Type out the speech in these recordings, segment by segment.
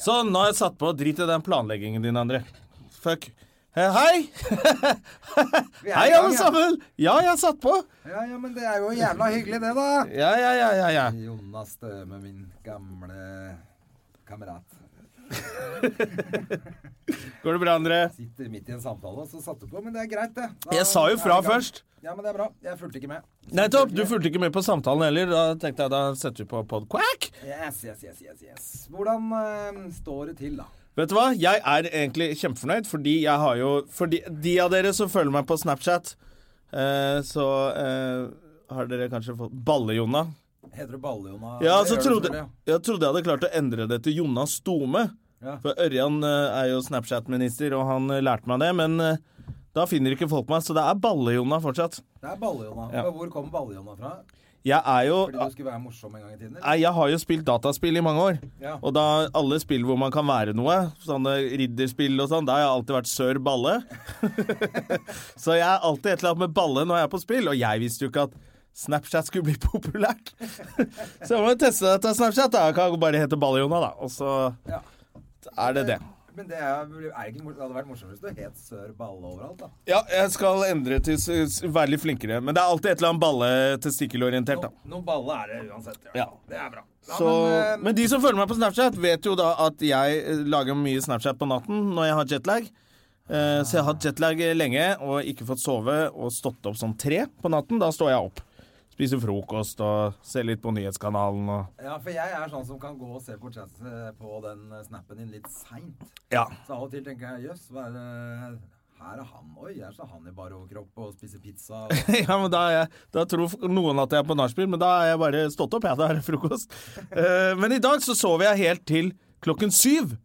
Sånn, nå har jeg satt på. Drit i den planleggingen din, André. Fuck. Eh, Hei! Hei, i gang, alle ja. sammen! Ja, jeg har satt på. Ja, ja, men det er jo jævla hyggelig det, da. Ja, ja, ja, ja, ja. Jonas Støme, min gamle kamerat, Går det bra, André? sitter midt i en samtale, og så satte du på. Men det er greit, det. Da Jeg sa er jo vi i fra gang. først. Ja, men det er bra. Jeg fulgte ikke med. Nettopp. Du fulgte ikke med på samtalen heller. Da tenkte jeg da setter vi på podquack. Yes, yes, yes, yes, yes. Hvordan eh, står det til, da? Vet du hva? Jeg er egentlig kjempefornøyd, fordi jeg har jo For de, de av dere som følger meg på Snapchat, eh, så eh, har dere kanskje fått Balle-Jonna. Heter du Balle-Jonna? Ja, Det så gjør du trodde, selvfølgelig, jeg trodde jeg hadde klart å endre det til Jonna Stome. Ja. For Ørjan eh, er jo Snapchat-minister, og han eh, lærte meg det. Men eh, da finner ikke folk meg, så det er Balle-Jonna fortsatt. ja. Det er Balle-Jonna. Ja. Men Hvor kom Balle-Jonna fra? Jeg er jo Fordi du skulle være morsom en gang i tiden? eller? Nei, jeg har jo spilt dataspill i mange år. Ja. Og da alle spill hvor man kan være noe, sånne ridderspill og sånn, da har jeg alltid vært sør balle. så jeg er alltid et eller annet med balle når jeg er på spill, og jeg visste jo ikke at Snapchat skulle bli populært. så jeg må jo teste dette Snapchat. da. Jeg kan jo bare hete Balle-Jonna, da. Og så Ja. er det det. Men det, er, er ikke, mor- det hadde vært morsomt hvis du het Sør Balle overalt, da. Ja, jeg skal endre til s- s- være litt flinkere. Men det er alltid et eller annet balle-testikkelorientert, da. No, noe balle er det uansett. Ja. Ja. Det er bra. Ja, Så, men, eh, men de som følger meg på Snapchat, vet jo da at jeg eh, lager mye Snapchat på natten når jeg har jetlag. Eh, Så jeg har hatt jetlag eh, lenge og ikke fått sove og stått opp sånn tre på natten. Da står jeg opp. Spiser frokost og ser litt på nyhetskanalen og ja, for jeg er sånn som kan gå og se på, chat, eh, på den eh, snappen din litt seint. Ja. Så av og til tenker jeg jøss, hva er det Her er han. Oi, her står han i bar overkropp og spiser pizza. Og, ja men da, er jeg, da tror f- noen at jeg er på nachspiel, men da er jeg bare stått opp, jeg. Da er det frokost. Eh, Men i dag så sover jeg helt til klokken syv.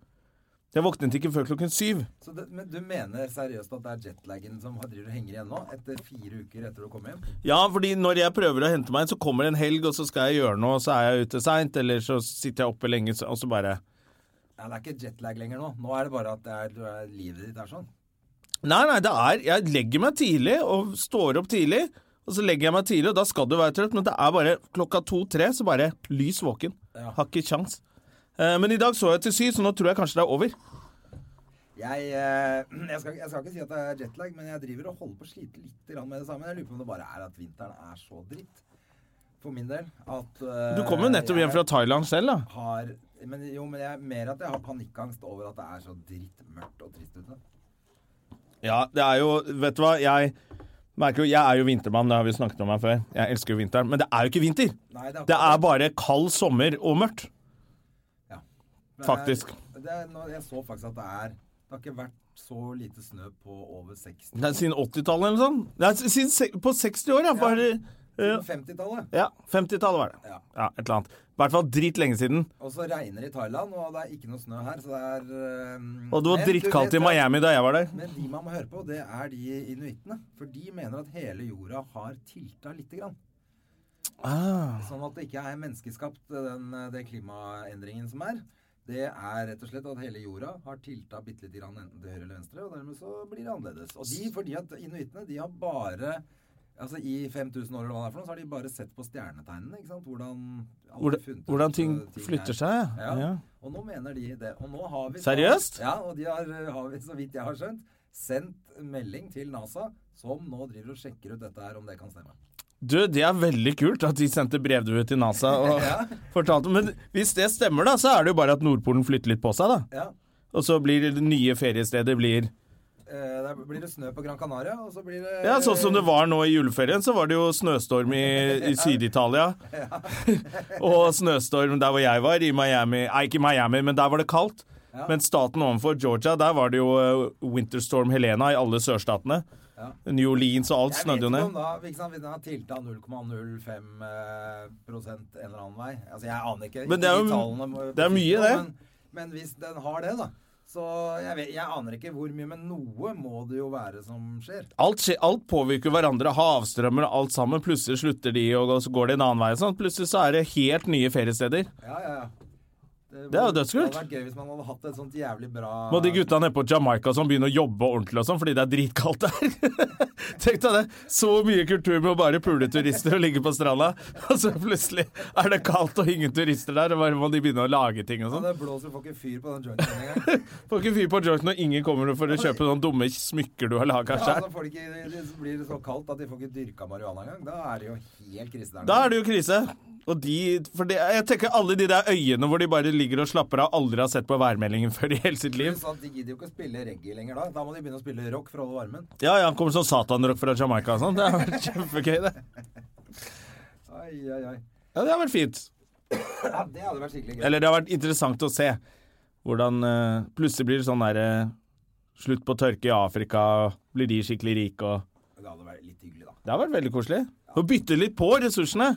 Jeg våknet ikke før klokken syv. så det, men du mener seriøst at det er jetlagen som har- driver og henger igjen nå? Etter fire uker etter du kom hjem? Ja, fordi når jeg prøver å hente meg inn, så kommer en helg, og så skal jeg gjøre noe, og så er jeg ute seint, eller så sitter jeg oppe lenge, så- og så bare Ja, det er ikke jetlag lenger nå. Nå er det bare at det er, du er, livet ditt er sånn. Nei, nei, det er Jeg legger meg tidlig, og står opp tidlig, og så legger jeg meg tidlig, og da skal du være trøtt, men det er bare klokka to-tre, så bare lys våken. Ja. Har ikke kjangs. Eh, Men i dag så jeg til syv, så nå tror jeg kanskje det er over. Jeg, eh, jeg, skal, jeg skal ikke si at det er jetlag, men jeg driver og holder på å slite litt grann med det samme. Jeg lurer på om det bare er at vinteren er så dritt for min del at eh, Du kom jo nettopp hjem jeg fra Thailand selv, da. har, men, Jo, men jeg mer at jeg har panikkangst over at det er så drittmørkt og trist ute. Ja, det er jo Vet du hva, jeg merker jo Jeg er jo vintermann, det har vi snakket om her før. Jeg elsker jo vinteren. Men det er jo ikke vinter. Nei, det er, Det er bare kald sommer og mørkt. Ja. Men faktisk. Det er, det er, nå- jeg så faktisk at det er Det har ikke vært så lite snø på over 60 Det er siden 80-tallet eller sånn. Det er siden se på 60 år, ja. Var det, Siden 50-tallet. ja 50-tallet var det. Ja. Ja, et eller annet. I hvert fall drit lenge siden. Og så regner det i Thailand, og det er ikke noe snø her, så det er eh, Og det var men du vet drittkaldt i at- Miami da jeg var der. Men de man må høre på, det er de inuittene. For de mener at hele jorda har tilta lite grann. Sånn at det ikke er menneskeskapt, eh, den, det klimaendringen som er. Det er rett og slett at hele jorda har tilta bitte lite grann, enten til høyre eller venstre, og dermed så blir det annerledes. Og de, fordi at inuittene, de har bare Altså I 5000 år eller hva det er for noe, så har de bare sett på stjernetegnene. ikke sant? Hvordan, alle Hvordan, funnet ut hvordan ting at flytter er- seg. ja. Ja. Ja. Og nå mener de det. Og nå har vi Seriøst? Ja, og de har, eh, har vi, så vidt jeg har skjønt, sendt melding til NASA, som nå driver og sjekker ut dette her, om det kan stemme. Du, det er veldig kult at de sendte brevduer til NASA og Ja. fortalte Men hvis det stemmer, da, så er det jo bare at Nordpolen flytter litt på seg, da. Ja. Og så blir det nye feriesteder blir Eh, der blir det snø på Gran Canaria, og så blir det Ja, sånn som det var nå i juleferien, så var det jo snøstorm i, i Syd-Italia. og snøstorm der hvor jeg var, i Miami. Nei, ikke i Miami, men der var det kaldt. Ja. Men staten ovenfor Georgia, der var det jo eh, winterstorm Helena i alle sørstatene. Ja. New Orleans og alt Jeg vet snødde ikke jo om ned. da, ikke sant, den har tilta 0,05 eh, prosent en eller annen vei. Altså, jeg aner ikke. Men det er jo- de tallene må- det er mye, det. Men, Men hvis den har det, da Så jeg, vet, jeg aner ikke hvor mye, men noe må det jo være som skjer. Alt, skje- alt påvirker hverandre, havstrømmer og alt sammen. Plutselig slutter de, og så går de en annen vei. og Sånn. Plutselig så er det helt nye feriesteder. Ja, ja, ja. Det er jo dødskult. Det hadde vært gøy hvis man hadde hatt et sånt jævlig bra Må de gutta nede på Jamaica som begynner å jobbe ordentlig og sånn fordi det er dritkaldt der. Tenk deg det. Så mye kultur med å bare pule turister og ligge på stranda, og så plutselig er det kaldt og ingen turister der, og bare må de begynne å lage ting og Ja, sånn. Det blåser får ikke fyr på den jointen engang. Får ikke fyr på jointen når ingen kommer for å kjøpe sånne dumme smykker du har laga Ja, sjøl. så får de ikke, det blir det så kaldt at de får ikke dyrka marihuana engang. Da er det jo helt krise der. Da er det jo krise. Og de, for det- jeg tenker alle de der øyene hvor de bare ligger og slapper av, aldri har sett på værmeldingen før i hele sitt liv. Pluss at de gidder jo ikke å spille reggae lenger da. Da må de begynne å spille rock for å holde varmen. Ja, ja, han kommer som satanrock fra Jamaica og sånn. Det har vært kjempegøy, det. Ai, ai, ai. Ja, det har vært fint. Ja, det hadde vært skikkelig gøy. Eller det har vært interessant å se hvordan eh, plutselig blir det sånn der eh, Slutt på tørke i Afrika, blir de skikkelig rike og Det hadde vært litt hyggelig, da. Det har vært veldig koselig. Å bytte litt på ressursene.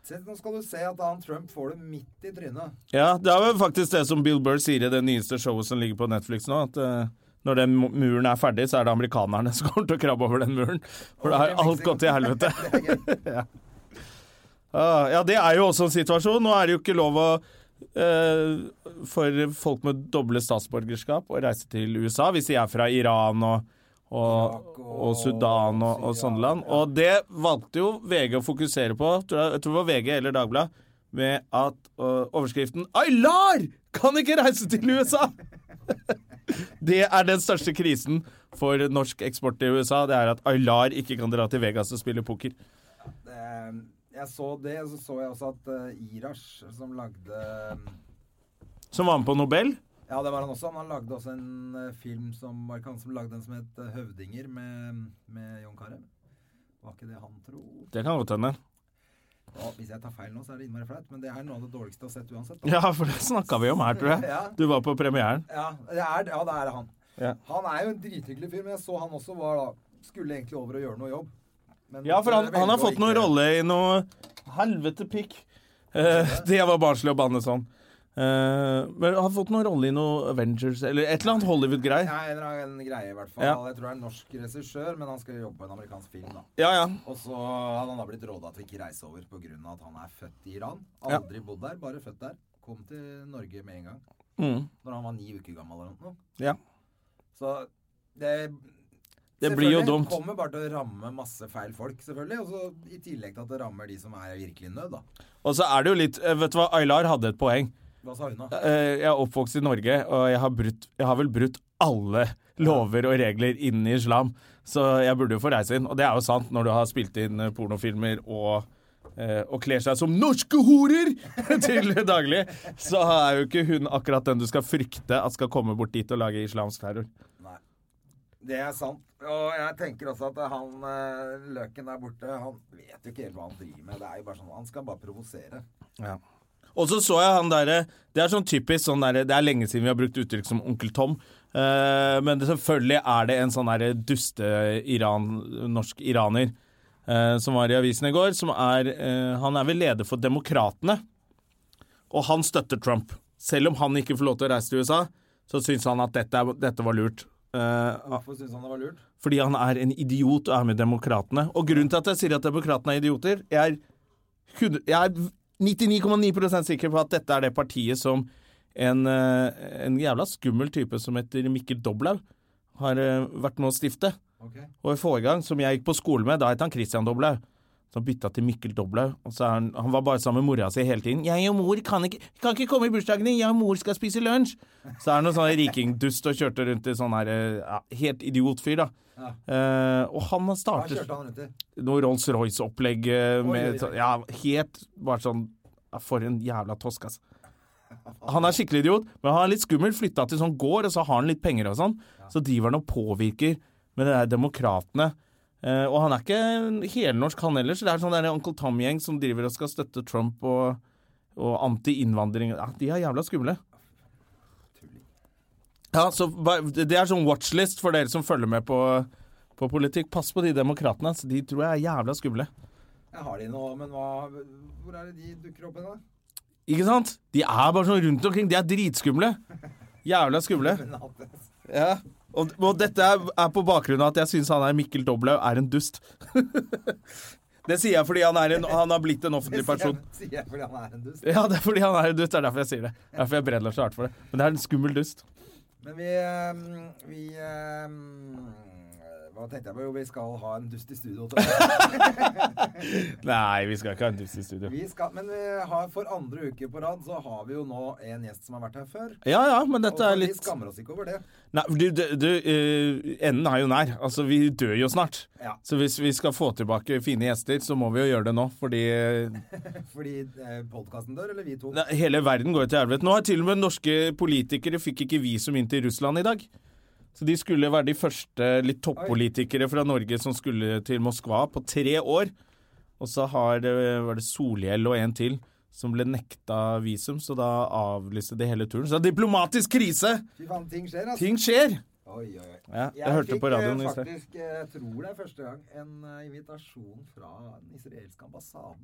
Se, nå skal du se at han Trump får det midt i trynet. Ja, det er jo faktisk det som Bill Burr sier i det nyeste showet som ligger på Netflix nå, at eh, når den mu- muren er ferdig, så er det amerikanerne som kommer til å krabbe over den muren. For da har alt gått til helvete. Ah, ja, det er jo også en situasjon. Nå er det jo ikke lov å eh, for folk med doble statsborgerskap å reise til USA hvis de er fra Iran og, og, og Sudan og, og sånne land. Og det valgte jo VG å fokusere på, tror jeg, jeg tror det var VG eller Dagbladet, med at øh, overskriften Aylar kan ikke reise til USA! det er den største krisen for norsk eksport til USA. Det er at Aylar ikke kan dra til Vegas og spille poker. Eh, Jeg så det, så så jeg også at eh, Irash, som lagde eh, Som var med på Nobel. Ja, det var han også. Men han lagde også en eh, film som var ikke han som lagde en som het eh, 'Høvdinger' med, med John Carew. Var ikke det han, tro? Det kan godt hende. Ja, hvis jeg tar feil nå, så er det innmari flaut, men det er noe av det dårligste jeg har sett uansett. da. Ja, for det snakka vi om her, tror jeg. Ja. Du var på premieren. Ja, det er, ja, det er han. Ja. Han er jo en drithyggelig fyr, men jeg så han også var da Skulle egentlig over og gjøre noe jobb. Men Ja, for han, velger han har å fått ikke- noen rolle i noe Helvete pikk! Eh, det var barnslig å banne sånn. Eh, men han har fått noen rolle i noe Avengers eller et eller annet Hollywood-greier. Ja, en eller annen greie, i hvert fall. Ja. Jeg tror det er en norsk regissør, men han skal jobbe på en amerikansk film, da. Ja, ja. Og så hadde han da blitt råda til å ikke reise over på grunn av at han er født i Iran. Aldri bodd der, bare født der. Kom til Norge med en gang. Mm. Når han var ni uker gammel eller noe. Ja. Så det Det blir jo selvfølgelig dumt. kommer bare til å ramme masse feil folk, selvfølgelig. Og så i tillegg til at det rammer de som er i virkelig nød, da. Og så er det jo litt eh, Vet du hva, Aylar hadde et poeng. Hva sa hun da? Eh, jeg er oppvokst i Norge, og jeg har, brutt, jeg har vel brutt alle lover og regler innen islam, så jeg burde jo få reise inn. Og det er jo sant, når du har spilt inn eh, pornofilmer og eh, og kler seg som norske horer til daglig, så er jo ikke hun akkurat den du skal frykte at skal komme bort dit og lage islamsk terror. Nei. Det er sant. Og jeg tenker også at han eh, løken der borte, han vet jo ikke helt hva han driver med. Det er jo bare sånn, Han skal bare provosere. Og så så jeg han derre Det er sånn typisk sånn derre Det er lenge siden vi har brukt uttrykk som onkel Tom. eh, men det, selvfølgelig er det en sånn derre duste Iran, norsk iraner eh, som var i avisen i går, som er eh, Han er vel leder for Demokratene, og han støtter Trump. Selv om han ikke får lov til å reise til USA, så syns han at dette, er- dette var lurt. Eh, Hvorfor syns han det var lurt? fordi han er en idiot og er med demokratene. Og grunnen til at jeg sier at demokratene er idioter, jeg er 100 jeg er 99,9 sikker på at dette er det partiet som en, eh, en jævla skummel type som heter Mikkel Doblau har eh, vært med å stifte. Ok. Og i forrige gang, som jeg gikk på skole med, da het han Christian Doblau. Så han bytta til Mikkel Doblau. Og så er han, han var bare sammen med mora si hele tiden. 'Jeg og mor kan ikke, kan ikke komme i bursdagen din, jeg og mor skal spise lunsj'. Så er han noen sånn rikingdust og kjørte rundt i sånn her eh, ja, Helt idiotfyr, da. Ja. Eh, og han har Hva startet kjørte han rundt i? noe Rolls-Royce-opplegg eh, med oi, oi. sånn- Ja, helt bare sånn ja, For en jævla tosk, altså. Han er skikkelig idiot, men han er litt skummel. Flytta til sånn gård, og så har han litt penger og sånn. Så driver han og påvirker med det der demokratene. Eh, og han er ikke helnorsk, han heller. Så det er sånn der Onkel Tom-gjeng som driver og skal støtte Trump og, og anti-innvandring. Ja, de er jævla skumle. Ja, så ba- Det er sånn watchlist for dere som følger med på, på politikk. Pass på de demokratene. ass. De tror jeg er jævla skumle. Jeg har de nå, men hva Hvor er det de dukker opp hen, da? Ikke sant? De er bare sånn rundt omkring. De er dritskumle. Jævla skumle. Men at det- Ja. Og, og dette er, er på bakgrunn av at jeg syns han her Mikkel Doblaug er en dust. det sier jeg fordi han, er en, han har blitt en offentlig person. Sier jeg fordi han er en dust. Ja, det er fordi han er en dust. Det er derfor jeg sier det. Derfor jeg brenner så hardt for det. Men det er en skummel dust. Men vi, ehm, vi ehm, Hva tenkte jeg på? Jo, vi skal ha en dust i studio. Nei, vi skal ikke ha en dust i studio. Vi skal, men vi har, for andre uke på rad så har vi jo nå en gjest som har vært her før. Ja ja, men Og dette er vi litt skammer oss ikke over det. Nei, du, du, du eh, enden er jo nær. Altså, vi dør jo snart. Ja. Så hvis vi skal få tilbake fine gjester, så må vi jo gjøre det nå, fordi eh, Fordi eh, podkasten dør, eller vi to. Nei, Hele verden går jo til helvete. Nå har til og med norske politikere fikk ikke visum inn til Russland i dag. Så de skulle være de første litt toppolitikere fra Norge som skulle til Moskva på tre år. Og så har det, var det Solhjell og en til som ble nekta visum, så da avlyste de hele turen. Så det er diplomatisk krise! Fy faen, ting skjer, altså. Ting skjer! Oi, oi, oi. Ja, jeg, hørte fikk på radioen eh, i sted. faktisk, eh, jeg tror det er første gang, en eh, invitasjon fra den israelske ambassaden.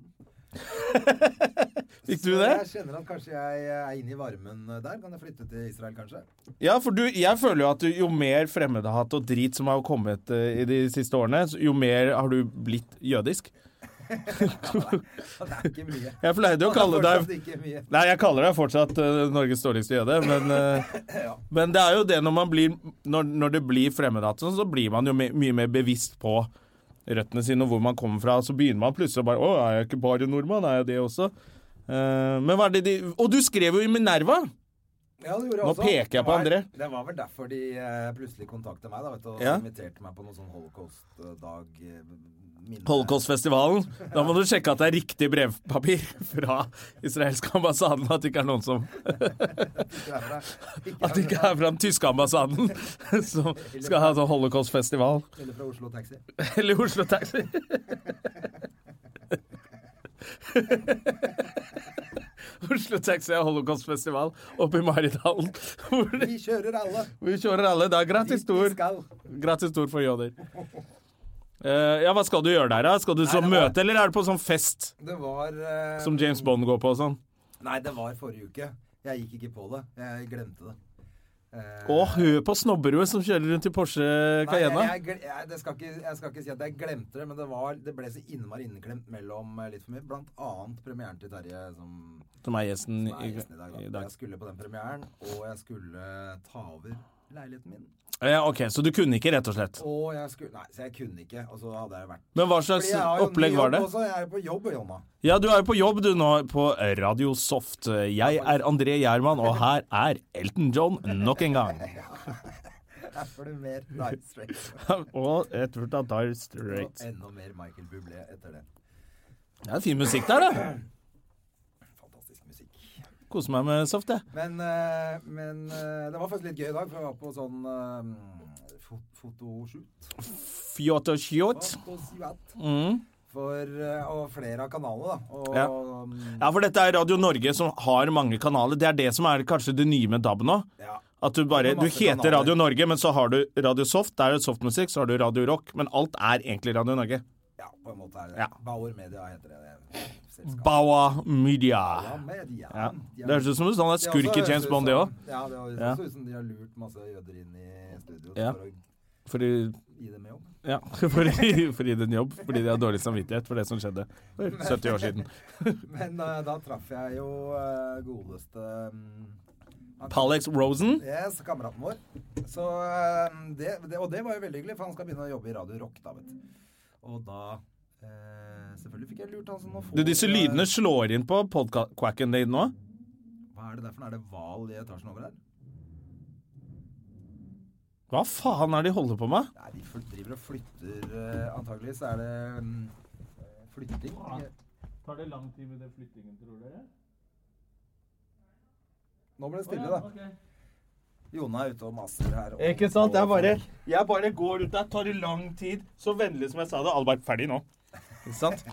Fikk du det? Så Jeg kjenner at kanskje jeg eh, er inne i varmen eh, der. Kan jeg flytte til Israel, kanskje? Ja, for du, jeg føler jo at du, jo mer fremmedhat og drit som har kommet eh, i de siste årene, så jo mer har du blitt jødisk. Ja, Det er ikke mye. Jeg pleide jo å kalle Det er deg fortsatt ikke mye. Nei, jeg kaller deg fortsatt eh, Norges dårligste jøde, men, eh, men det er jo det når man blir Når, når det blir fremmedhat, sånn, så blir man jo me, mye mer bevisst på røttene sine og hvor man kommer fra. Så begynner man plutselig å bare Å, er jeg ikke bare nordmann? Er jeg det også? Eh, men hva er det de Og du skrev jo i Minerva! Ja, det gjorde jeg Nå også. peker jeg på Det var- André. Det var vel derfor de eh, plutselig kontakta meg da, vet du, og Ja. inviterte meg på noe sånn holocaust-dag. eh, minne- Holocaustfestivalen. Da må du sjekke at det er riktig brevpapir fra israelske ambassaden, at det ikke er noen som Ikke herfra. Ikke At det ikke herfra. er fra den tyske ambassaden som skal ha sånn holocaustfestival. Eller fra Oslo Taxi. Eller Oslo Taxi. Oslo Taxi er holocaustfestival oppe i Maridalen. Hvor de- Vi kjører alle. Vi kjører alle. Det er gratis Dit vi tur. skal. Gratis tur for jøder. Eh, ja, hva skal du gjøre der, da? Skal du så det var- møte, eller er det på sånn fest Det var eh, som James Bond går på og sånn? Nei, det var forrige uke. Jeg gikk ikke på det. Jeg glemte det. Eh, Å, hø på Snobberud som kjører rundt i Porsche Nei, jeg, Cayenne. jeg, gle- jeg, det skal ikke, jeg skal ikke si at jeg glemte det, men det, var, det ble så innmari inneklemt mellom eh, litt for mye. Blant annet premieren til Terje som Som er gjesten Nei, gjesten i dag, da. i dag. Jeg skulle på den premieren, og jeg skulle ta over leiligheten min. Ja, ok, så du kunne ikke, rett og slett. Og jeg skulle Nei, så jeg kunne ikke. Og så hadde jeg vært Men hva Fordi slags jeg har jo ny opplegg var jobb det? Også, jeg er jo på jobb, Jonna. Ja, du er jo på jobb du nå på Radio Soft. Jeg er André Gjerman, og her er Elton John nok en gang. Der får du mer Dire Straits. og et fullt av Dire Og Straits. enda mer Michael Bublé etter det. Det er fin musikk der, da. Fantastisk musikk. Koser meg med Soft, jeg. Men, eh, men eh, det var faktisk litt gøy i dag, for jeg var på sånn eh, fot- fotoshoot. Fjot og sjot. Fotoshoot. Mm. For, eh, og flere av kanalene, da. Og, Ja. mm, Ja, for dette er Radio Norge som har mange kanaler. Det er det som er kanskje det nye med DAB nå. ja. At du bare Det er Du masse heter kanaler. Radio Norge, men så har du Radio Soft. Der er det softmusikk. Så har du Radio Rock. Men alt er egentlig Radio Norge. ja, på en måte er det Ja. Bauer Media heter det. det selskapet. Bawa Media. Ja, media. Ja. Ja. altså, Det høres ut som en sånn Det skurk i også høres James ut Bond, det som- òg. Ja, det høres Ja. også ut som de har lurt masse jøder inn i studio Ja. for å Fordi gi dem jobb. Ja, fordi, fordi det er en jobb. Fordi de har dårlig samvittighet for det som skjedde for 70 år siden. Men eh, da traff jeg jo eh, godeste mm, han- Palex Rosen. Yes, kameraten vår. Så, eh, det, det, og det var jo veldig hyggelig, for han skal begynne å jobbe i Radio Rock, da, vet du. Og da eh, Selvfølgelig fikk jeg lurt han som eh, nå får Du, disse lydene slår inn på podkvacken din nå. Hva er det der for noe? Er det hval i etasjen over der? Hva faen er det de holder på med? Nei, de fly- driver og flytter eh, Antageligvis er det mm, flytting. Tar det lang tid med den flyttingen, tror dere? Nå ble det stille, da. Jona er ute og maser her. Og, Ikke sant? Jeg og- bare, jeg bare går ut der, tar det lang tid. Så vennlig som jeg sa det. Alle bare ferdig nå. Ikke sant?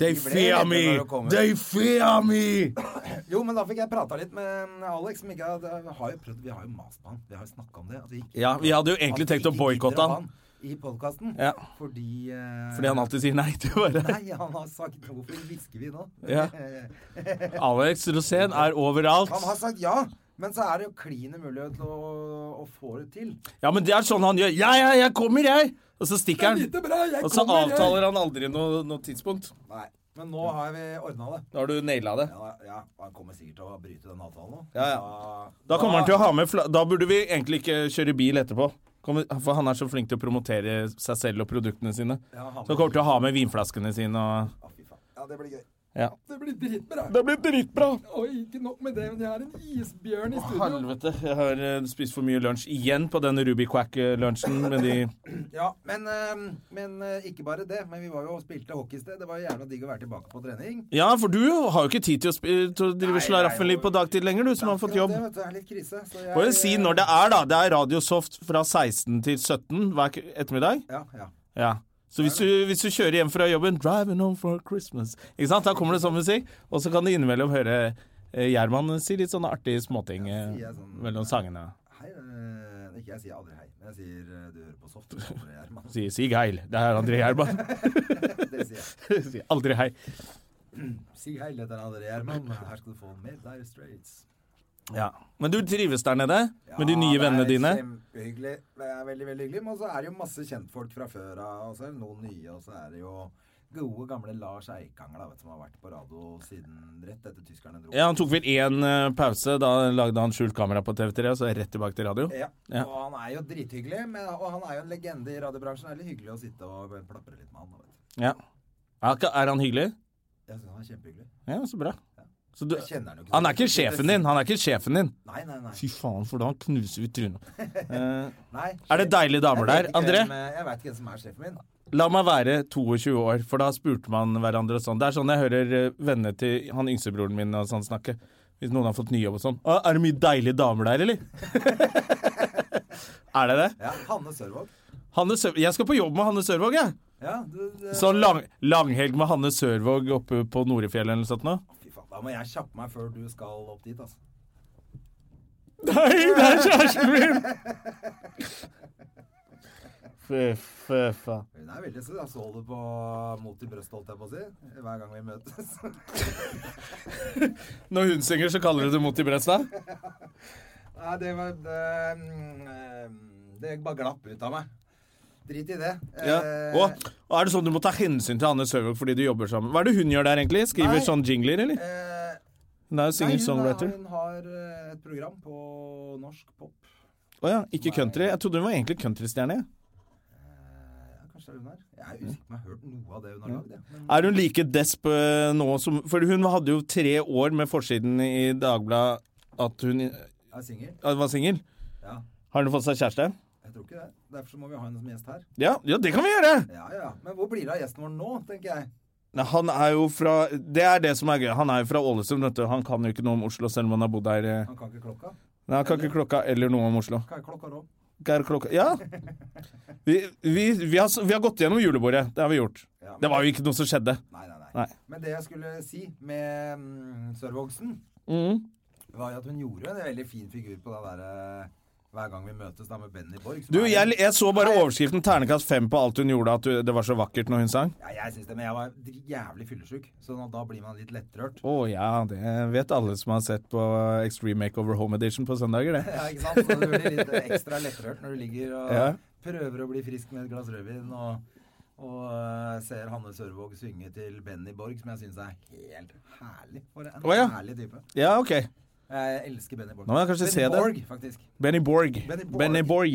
They ble fear redde me! når du kommer. They fear me! Jo, men da fikk jeg prata litt med mm, Alex, som ikke hadde Vi har jo prøvd, vi har jo mast på han. Vi har jo snakka om det. At vi ikke, Ja, vi hadde jo egentlig at vi tenkt å ikke boykotte gidder å ha han. I podkasten. Ja. Fordi eh, Fordi han alltid sier nei til å være Nei, han har sagt Hvorfor hvisker vi nå? Eh, Ja. Alex Rosén er overalt. Han har sagt ja! Men så er det jo klin umulig til å, å få det til. Ja, men det er sånn han gjør. Ja, ja, jeg kommer, jeg! Og så stikker han. bra, jeg Og så avtaler han aldri noe, noe tidspunkt. Nei, men nå har vi ordna det. Da har du naila det. Ja, ja, han kommer sikkert til å bryte den avtalen nå. Ja, ja. Da kommer han til å ha med fla Da burde vi egentlig ikke kjøre bil etterpå. Kommer, for han er så flink til å promotere seg selv og produktene sine. Ja, han Så han kommer til å ha med vinflaskene sine og Ja, fy faen. Ja, det blir gøy. Ja. Det blir dritbra. Det blir dritbra! Oi, ikke nok med det, men jeg har en isbjørn i Helvete, jeg har eh, spist for mye lunsj igjen på den Ruby Quack-lunsjen med de Ja, men, eh, men eh, ikke bare det. Men vi var jo og spilte hockey i sted. Det var jævla digg å være tilbake på trening. Ja, for du har jo ikke tid til å, spi til å drive Nei, slaraffenliv nei, på dagtid lenger, du som har fått jobb. Det, vet du, er litt krise. Så jeg, Må jo si når det er, da. Det er Radiosoft fra 16 til 17 hver k- ettermiddag. Ja, ja. Ja. Så hvis du, hvis du kjører hjem fra jobben 'Driving home for Christmas', ikke sant? da kommer det sånn musikk. Og så kan du innimellom høre eh, Gjerman si litt sånne artige småting eh, Ja, sier jeg sånn- mellom sangene. Hei, eh, ikke jeg sier aldri hei, men jeg sier eh, du hører på soft. du hører på det her, mann. Si, si geil. Det er André Gjerman. Det sier jeg. si aldri hei. Si hei, dette er André Gjerman. Her skal du få mer Dire Straits. Ja. Men du trives der nede? Med de nye vennene Det er dine? kjempehyggelig. Det er veldig, veldig hyggelig. Men så er det jo masse kjentfolk fra før av, og så er det noen nye, og så er det jo gode, gamle Lars Eikanger, da, vet, du, som har vært på radio siden rett etter tyskerne dro. Ja, Han tok vel én eh, pause. Da lagde han skjult kamera på TV3, og så rett tilbake til radio. Ja. Ja. Og han er jo drithyggelig, men, og han er jo en legende i radiobransjen. Det er litt hyggelig å sitte og plapre litt med han. da, Vet. du. Ja. Er ikke- Er han hyggelig? Jeg synes han er kjempehyggelig. Ja, så bra. Så du, Jeg kjenner han jo ikke. så han er godt. ikke sjefen din! Han er ikke sjefen din. Nei, nei, nei. Fy faen, for da knuser vi trynet. Eh, nei. er det deilige damer Jeg der? vet ikke André, hvem, eh, Jeg veit ikke hvem som er sjefen min. la meg være 22 år, for da spurte man hverandre og sånn. Det er sånn jeg hører eh, vennene til han yngstebroren min og sånn snakke. Hvis noen har fått ny jobb og sånn. «Å, Er det mye deilige damer der, eller? er det det? Ja, Hanne Sørvåg. Hanne Sør jeg skal på jobb med Hanne Sørvåg, jeg. Ja, du, du, Sånn lang langhelg med Hanne Sørvåg oppe på Norefjell eller noe sånt nå. Fy faen, da må jeg kjappe meg før du skal opp dit, altså. Nei, det er kjæresten min! Fy, fy faen. Hun er veldig søt. Jeg så det på Mot i brøstet, holdt jeg på å si. Hver gang vi møtes. Når hun synger, så kaller du det mot i bresta? Nei, det var det, mm, det bare glapp ut av meg. Drit i det. Ja. Eh, Og, og er det sånn du må ta hensyn til Hanne Sørvåg fordi du jobber sammen? Hva er det hun gjør der, egentlig? Skriver Nei. sånn jingler, eller? eh, Hun er jo nei, hun, har- singer-songwriter. hun har eh, et program på norsk pop. Å ja, ikke country. Jeg trodde hun var egentlig countrystjerne. jeg. Ja, kanskje det er hun her. Jeg er usikker på om jeg har hørt noe av det Mm. hun har lagd. jeg. Men Er hun like desp eh, nå som For hun hadde jo tre år med forsiden i Dagbladet at hun eh, jeg er singel. var singel. Ja, Har hun fått seg kjæreste? jeg tror ikke det. Derfor så må vi ha henne som gjest her. Ja, ja, det kan vi gjøre! Ja, ja, ja. Men hvor blir det av gjesten vår nå, tenker jeg. Nei, Han er jo fra Det er det som er gøy. Han er jo fra Ålesund, vet du. Han kan jo ikke noe om Oslo, selv om han har bodd her eh. Han kan ikke klokka. Nei, han kan ikke klokka eller noe om Oslo. Hva er klokka nå? Hva er klokka Ja! Vi, vi, vi, har, vi har gått gjennom julebordet. Det har vi gjort. Ja, men- Det var jo ikke noe som skjedde. Nei, nei, nei, Nei. Men det jeg skulle si med mm, Sørvågsen, Mm. var jo at hun gjorde en veldig fin figur på det derre eh, Hver gang vi møtes, da med Benny Borg. som Du, er en- jeg, jeg så bare overskriften 'Ternekast fem' på alt hun gjorde, at du, det var så vakkert når hun sang. ja, jeg syns det, men jeg var dri- jævlig fyllesyk, så nå- da blir man litt lettrørt. Å ja, det vet alle som har sett på Extreme Makeover Home Edition på søndager, det. Ja, ikke sant? Så du blir litt ekstra lettrørt når du ligger og Ja. prøver å bli frisk med et glass rødvin og, og eh, ser Hanne Sørvåg synge til Benny Borg, som jeg syns er helt herlig. For en Å, ja. herlig type. Ja, OK. Jeg elsker Benny Borg. Nå må jeg kanskje Benny se det. Borg, faktisk. Benny Borg. Benny Borg. Benny Borg.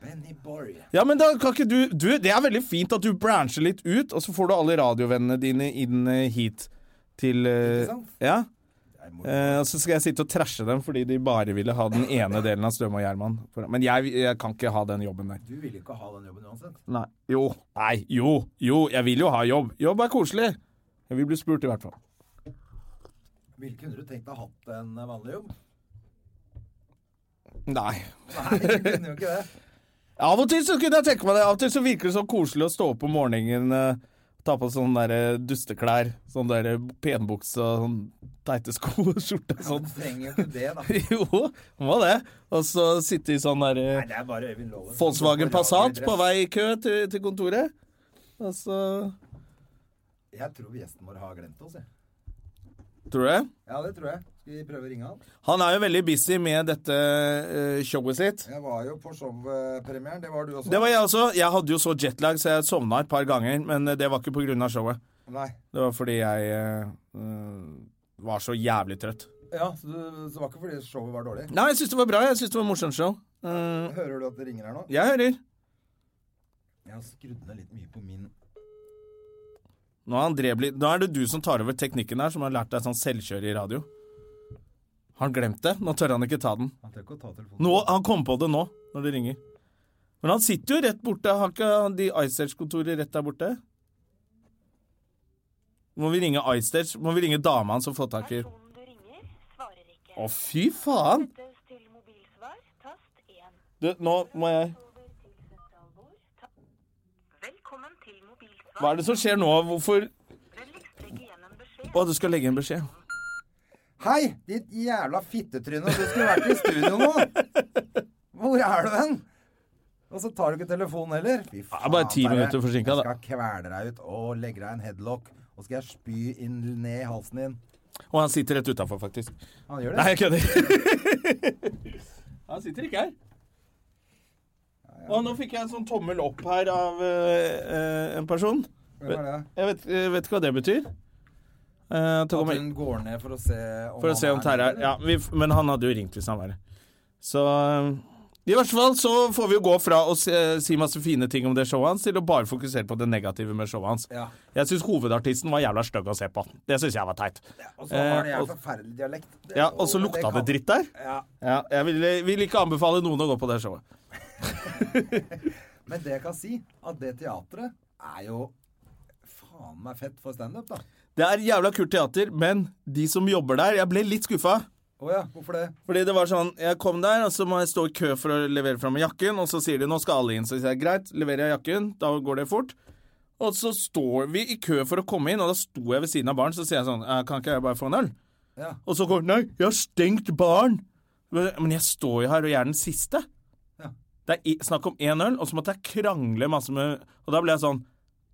Benny Borg. Ja, men da kan ikke du, du Det er veldig fint at du brancher litt ut, og så får du alle radiovennene dine inn eh, hit til eh, Ikke sant? Ja. Jeg må- Eh, og så skal jeg sitte og trashe dem fordi de bare ville ha den ene delen av Støme og Gjerman. Men jeg, jeg kan ikke ha den jobben der. Du ville ikke ha den jobben uansett. Nei. Jo. Nei. Jo. Jo, jeg vil jo ha jobb. Jobb er koselig. Jeg vil bli spurt, i hvert fall. Ville kunne du tenkt deg hatt en eh, vanlig jobb? Nei. Nei, du kunne jo ikke det. Av og til så kunne jeg tenke meg det. Av og til så virker det så koselig å stå opp om morgenen, eh, ta på sånne der eh, dusteklær, sånne der penbukse og sånn teite sko og skjorte og sånn. Du trenger jo ikke det, da. Jo, må det. Og så sitte i sånn der Nei, eh, det er bare Øyvind Loven. som Volkswagen går på Passat radiodress. på vei i kø til, til kontoret. Og så Jeg tror gjesten vår har glemt oss, jeg. Tror du det? Ja, det tror jeg. Skal Vi prøver å ringe han. Han er jo veldig busy med dette eh, showet sitt. Jeg var jo på showpremieren. Det var du også. Det var jeg også. Jeg hadde jo så jetlag, så jeg sovna et par ganger. Men eh, det var ikke pga. showet. Nei. Det var fordi jeg eh, eh, var så jævlig trøtt. Ja, så, du, så det var ikke fordi showet var dårlig. Nei, jeg syns det var bra. Jeg syns det var morsomt show. Eh, Hører du at det ringer her nå? jeg hører. Jeg har skrudd ned litt mye på min Nå er, André blitt, nå er det du som tar over teknikken her, som har lært deg sånn selvkjør i radio. Har han glemt det? Nå tør han ikke ta den. Han tør ikke å ta telefonen. Nå, han kom på det nå, når det ringer. Men han sitter jo rett borte. Har ikke han de iStage-kontoret rett der borte? Må vi ringe iStage? Må vi ringe dama hans og få tak i Telefonen du ringer, svarer ikke. Å, fy faen! Settes til mobilsvar, tast 1. Du, nå må jeg Over til sentralbord, ta... Velkommen til mobilsvar. Hva er det som skjer nå? Hvorfor Vennligst legg igjen en beskjed. Å, du skal legge en beskjed. Hei, ditt jævla fittetryne. Du skulle vært i studio nå. Hvor er du hen? Og så tar du ikke telefonen heller. Fy faen, Ja, bare ti Terje. minutter forsinket, da. Jeg skal kvele deg ut og legge deg i en headlock. Og skal jeg spy inn ned i halsen din. Og han sitter rett utafor, faktisk. Han gjør det. Nei, jeg kødder. Han sitter ikke her. Og nå fikk jeg en sånn tommel opp her av eh, eh, en person. Hvem er det? Jeg vet, jeg vet ikke hva det betyr. Eh, til å At komme- hun går ned for å se om, for å han se om Terje er der, ja, vi, f- Men han hadde jo ringt hvis han var her. Så eh, i hvert fall så får vi jo gå fra å si, si masse fine ting om det showet hans, til å bare fokusere på det negative med showet hans. Ja. Jeg syns hovedartisten var jævla stygg å se på. Det syns jeg var teit. Og så har de Eh, en og- forferdelig dialekt. Det- Ja, Og så lukta det kan- dritt der. Ja, Ja, jeg vil, vil ikke anbefale noen å gå på det showet. Men det jeg kan si, at det teatret er jo faen meg fett for standup, da. Det er jævla kult teater, men de som jobber der Jeg ble litt skuffa. Å ja, hvorfor det? Fordi det var sånn Jeg kom der, og så må jeg stå i kø for å levere fram jakken, og så sier de nå skal alle inn. Så sier jeg greit, leverer jeg jakken, da går det fort. Og så står vi i kø for å komme inn, og da sto jeg ved siden av baren, så sier jeg sånn «Eh, Kan ikke jeg bare få en øl? Ja. Og så går den Nei, jeg har stengt baren! Men men jeg står jo her, og jeg er den siste. Ja. Det er i- snakk om én øl, og så måtte jeg krangle masse med Og da ble jeg sånn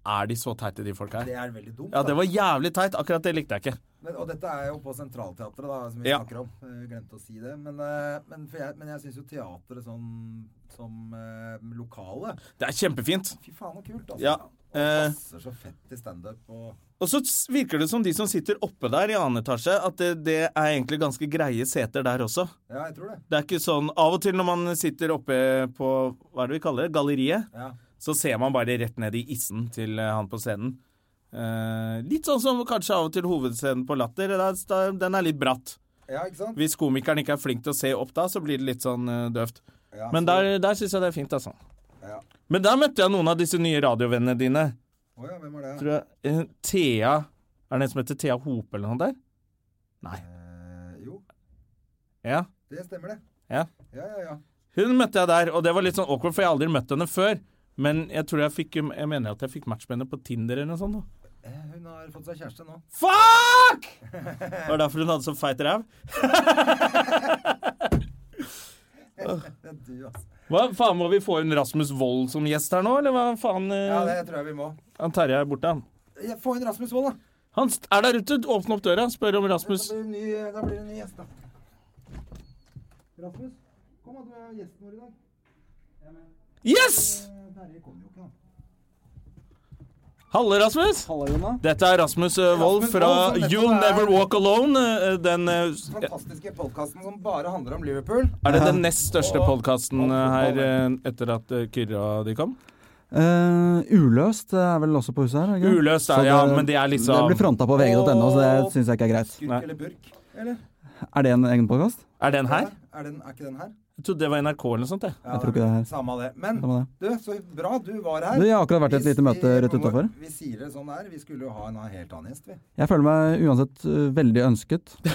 Er de så teite, de folka her? Det er veldig dumt. Ja, da. det var jævlig teit. Akkurat det likte jeg ikke. Men, og dette er jo på Sentralteatret, da, som vi Ja. snakker om. Eh, Glemte å si det. Men, eh, men, for jeg, men jeg syns jo teatret sånn som eh, lokale Det er kjempefint. Fy faen, så kult, altså. Ja. Eh, Passer så fett til standup og og så s- virker det som de som sitter oppe der i annen etasje, at det, det er egentlig ganske greie seter der også. Ja, jeg tror det. Det er ikke sånn Av og til når man sitter oppe på Hva er det vi kaller det? Galleriet. Ja. Så ser man bare rett ned i issen til eh, han på scenen. Eh, litt sånn som kanskje av og til hovedscenen på Latter. Der, der, den er litt bratt. ja, ikke sant? Hvis komikeren ikke er flink til å se opp da, så blir det litt sånn eh, døvt. Ja, Men så- der, der syns jeg det er fint, altså. Ja. Men der møtte jeg noen av disse nye radiovennene dine. Å ja, hvem var det? tror jeg eh, Thea Er det en som heter Thea Hope eller noe der? Nei. Eh, jo, Ja. det stemmer, det. Ja. Ja, ja, ja. Hun møtte jeg der, og det var litt sånn awkward, for jeg har aldri møtt henne før. Men jeg tror jeg fikk Jeg mener at jeg fikk match med henne på Tinder eller noe sånt. da. Eh, Hun har fått seg kjæreste nå. Fuck! Det var derfor hun hadde så feit ræv. Det er du, altså. Hva faen, må vi få inn Rasmus Wold som gjest her nå, eller hva faen? eh, Ja, det tror jeg vi må. Han Terje er borte, han. Ja, Få inn Rasmus Wold, da. Han st- er der ute. Åpne opp døra, spør om Da Rasmus blir det ny, da blir det ny gjest, da. Rasmus, kom da, du er gjesten vår i dag. Yes! Eh, Terje kom jo ikke, da. Halle, Rasmus. Halla, Jonna. Dette er Rasmus eh, Wold Wold, fra som nettopp You'll er- Never Walk Alone. eh, Den eh, fantastiske podkasten som bare handler om Liverpool. Er det den nest største podkasten her eh, etter at eh, Kyrre og de kom? Eh, uløst er vel også på huset her? er det ikke? Uløst, Så ja, men det er liksom- Det blir fronta på vg.no, så det syns jeg ikke er greit. Skurk Nei. eller burk? Eller? Er det en egen podkast? Er den her? Er, den, er ikke den her? Jeg trodde det var NRK eller noe sånt. jeg. Ja, Jeg tror ikke det er her. Samme av det. Men Samme det. du, så bra du var her. Du, jeg har akkurat vært i et Hvis lite møte vi- rett utafor. Vi sier det sånn der. Vi skulle jo ha en helt annen gjest, vi. Jeg føler meg uansett eh, veldig ønsket. Du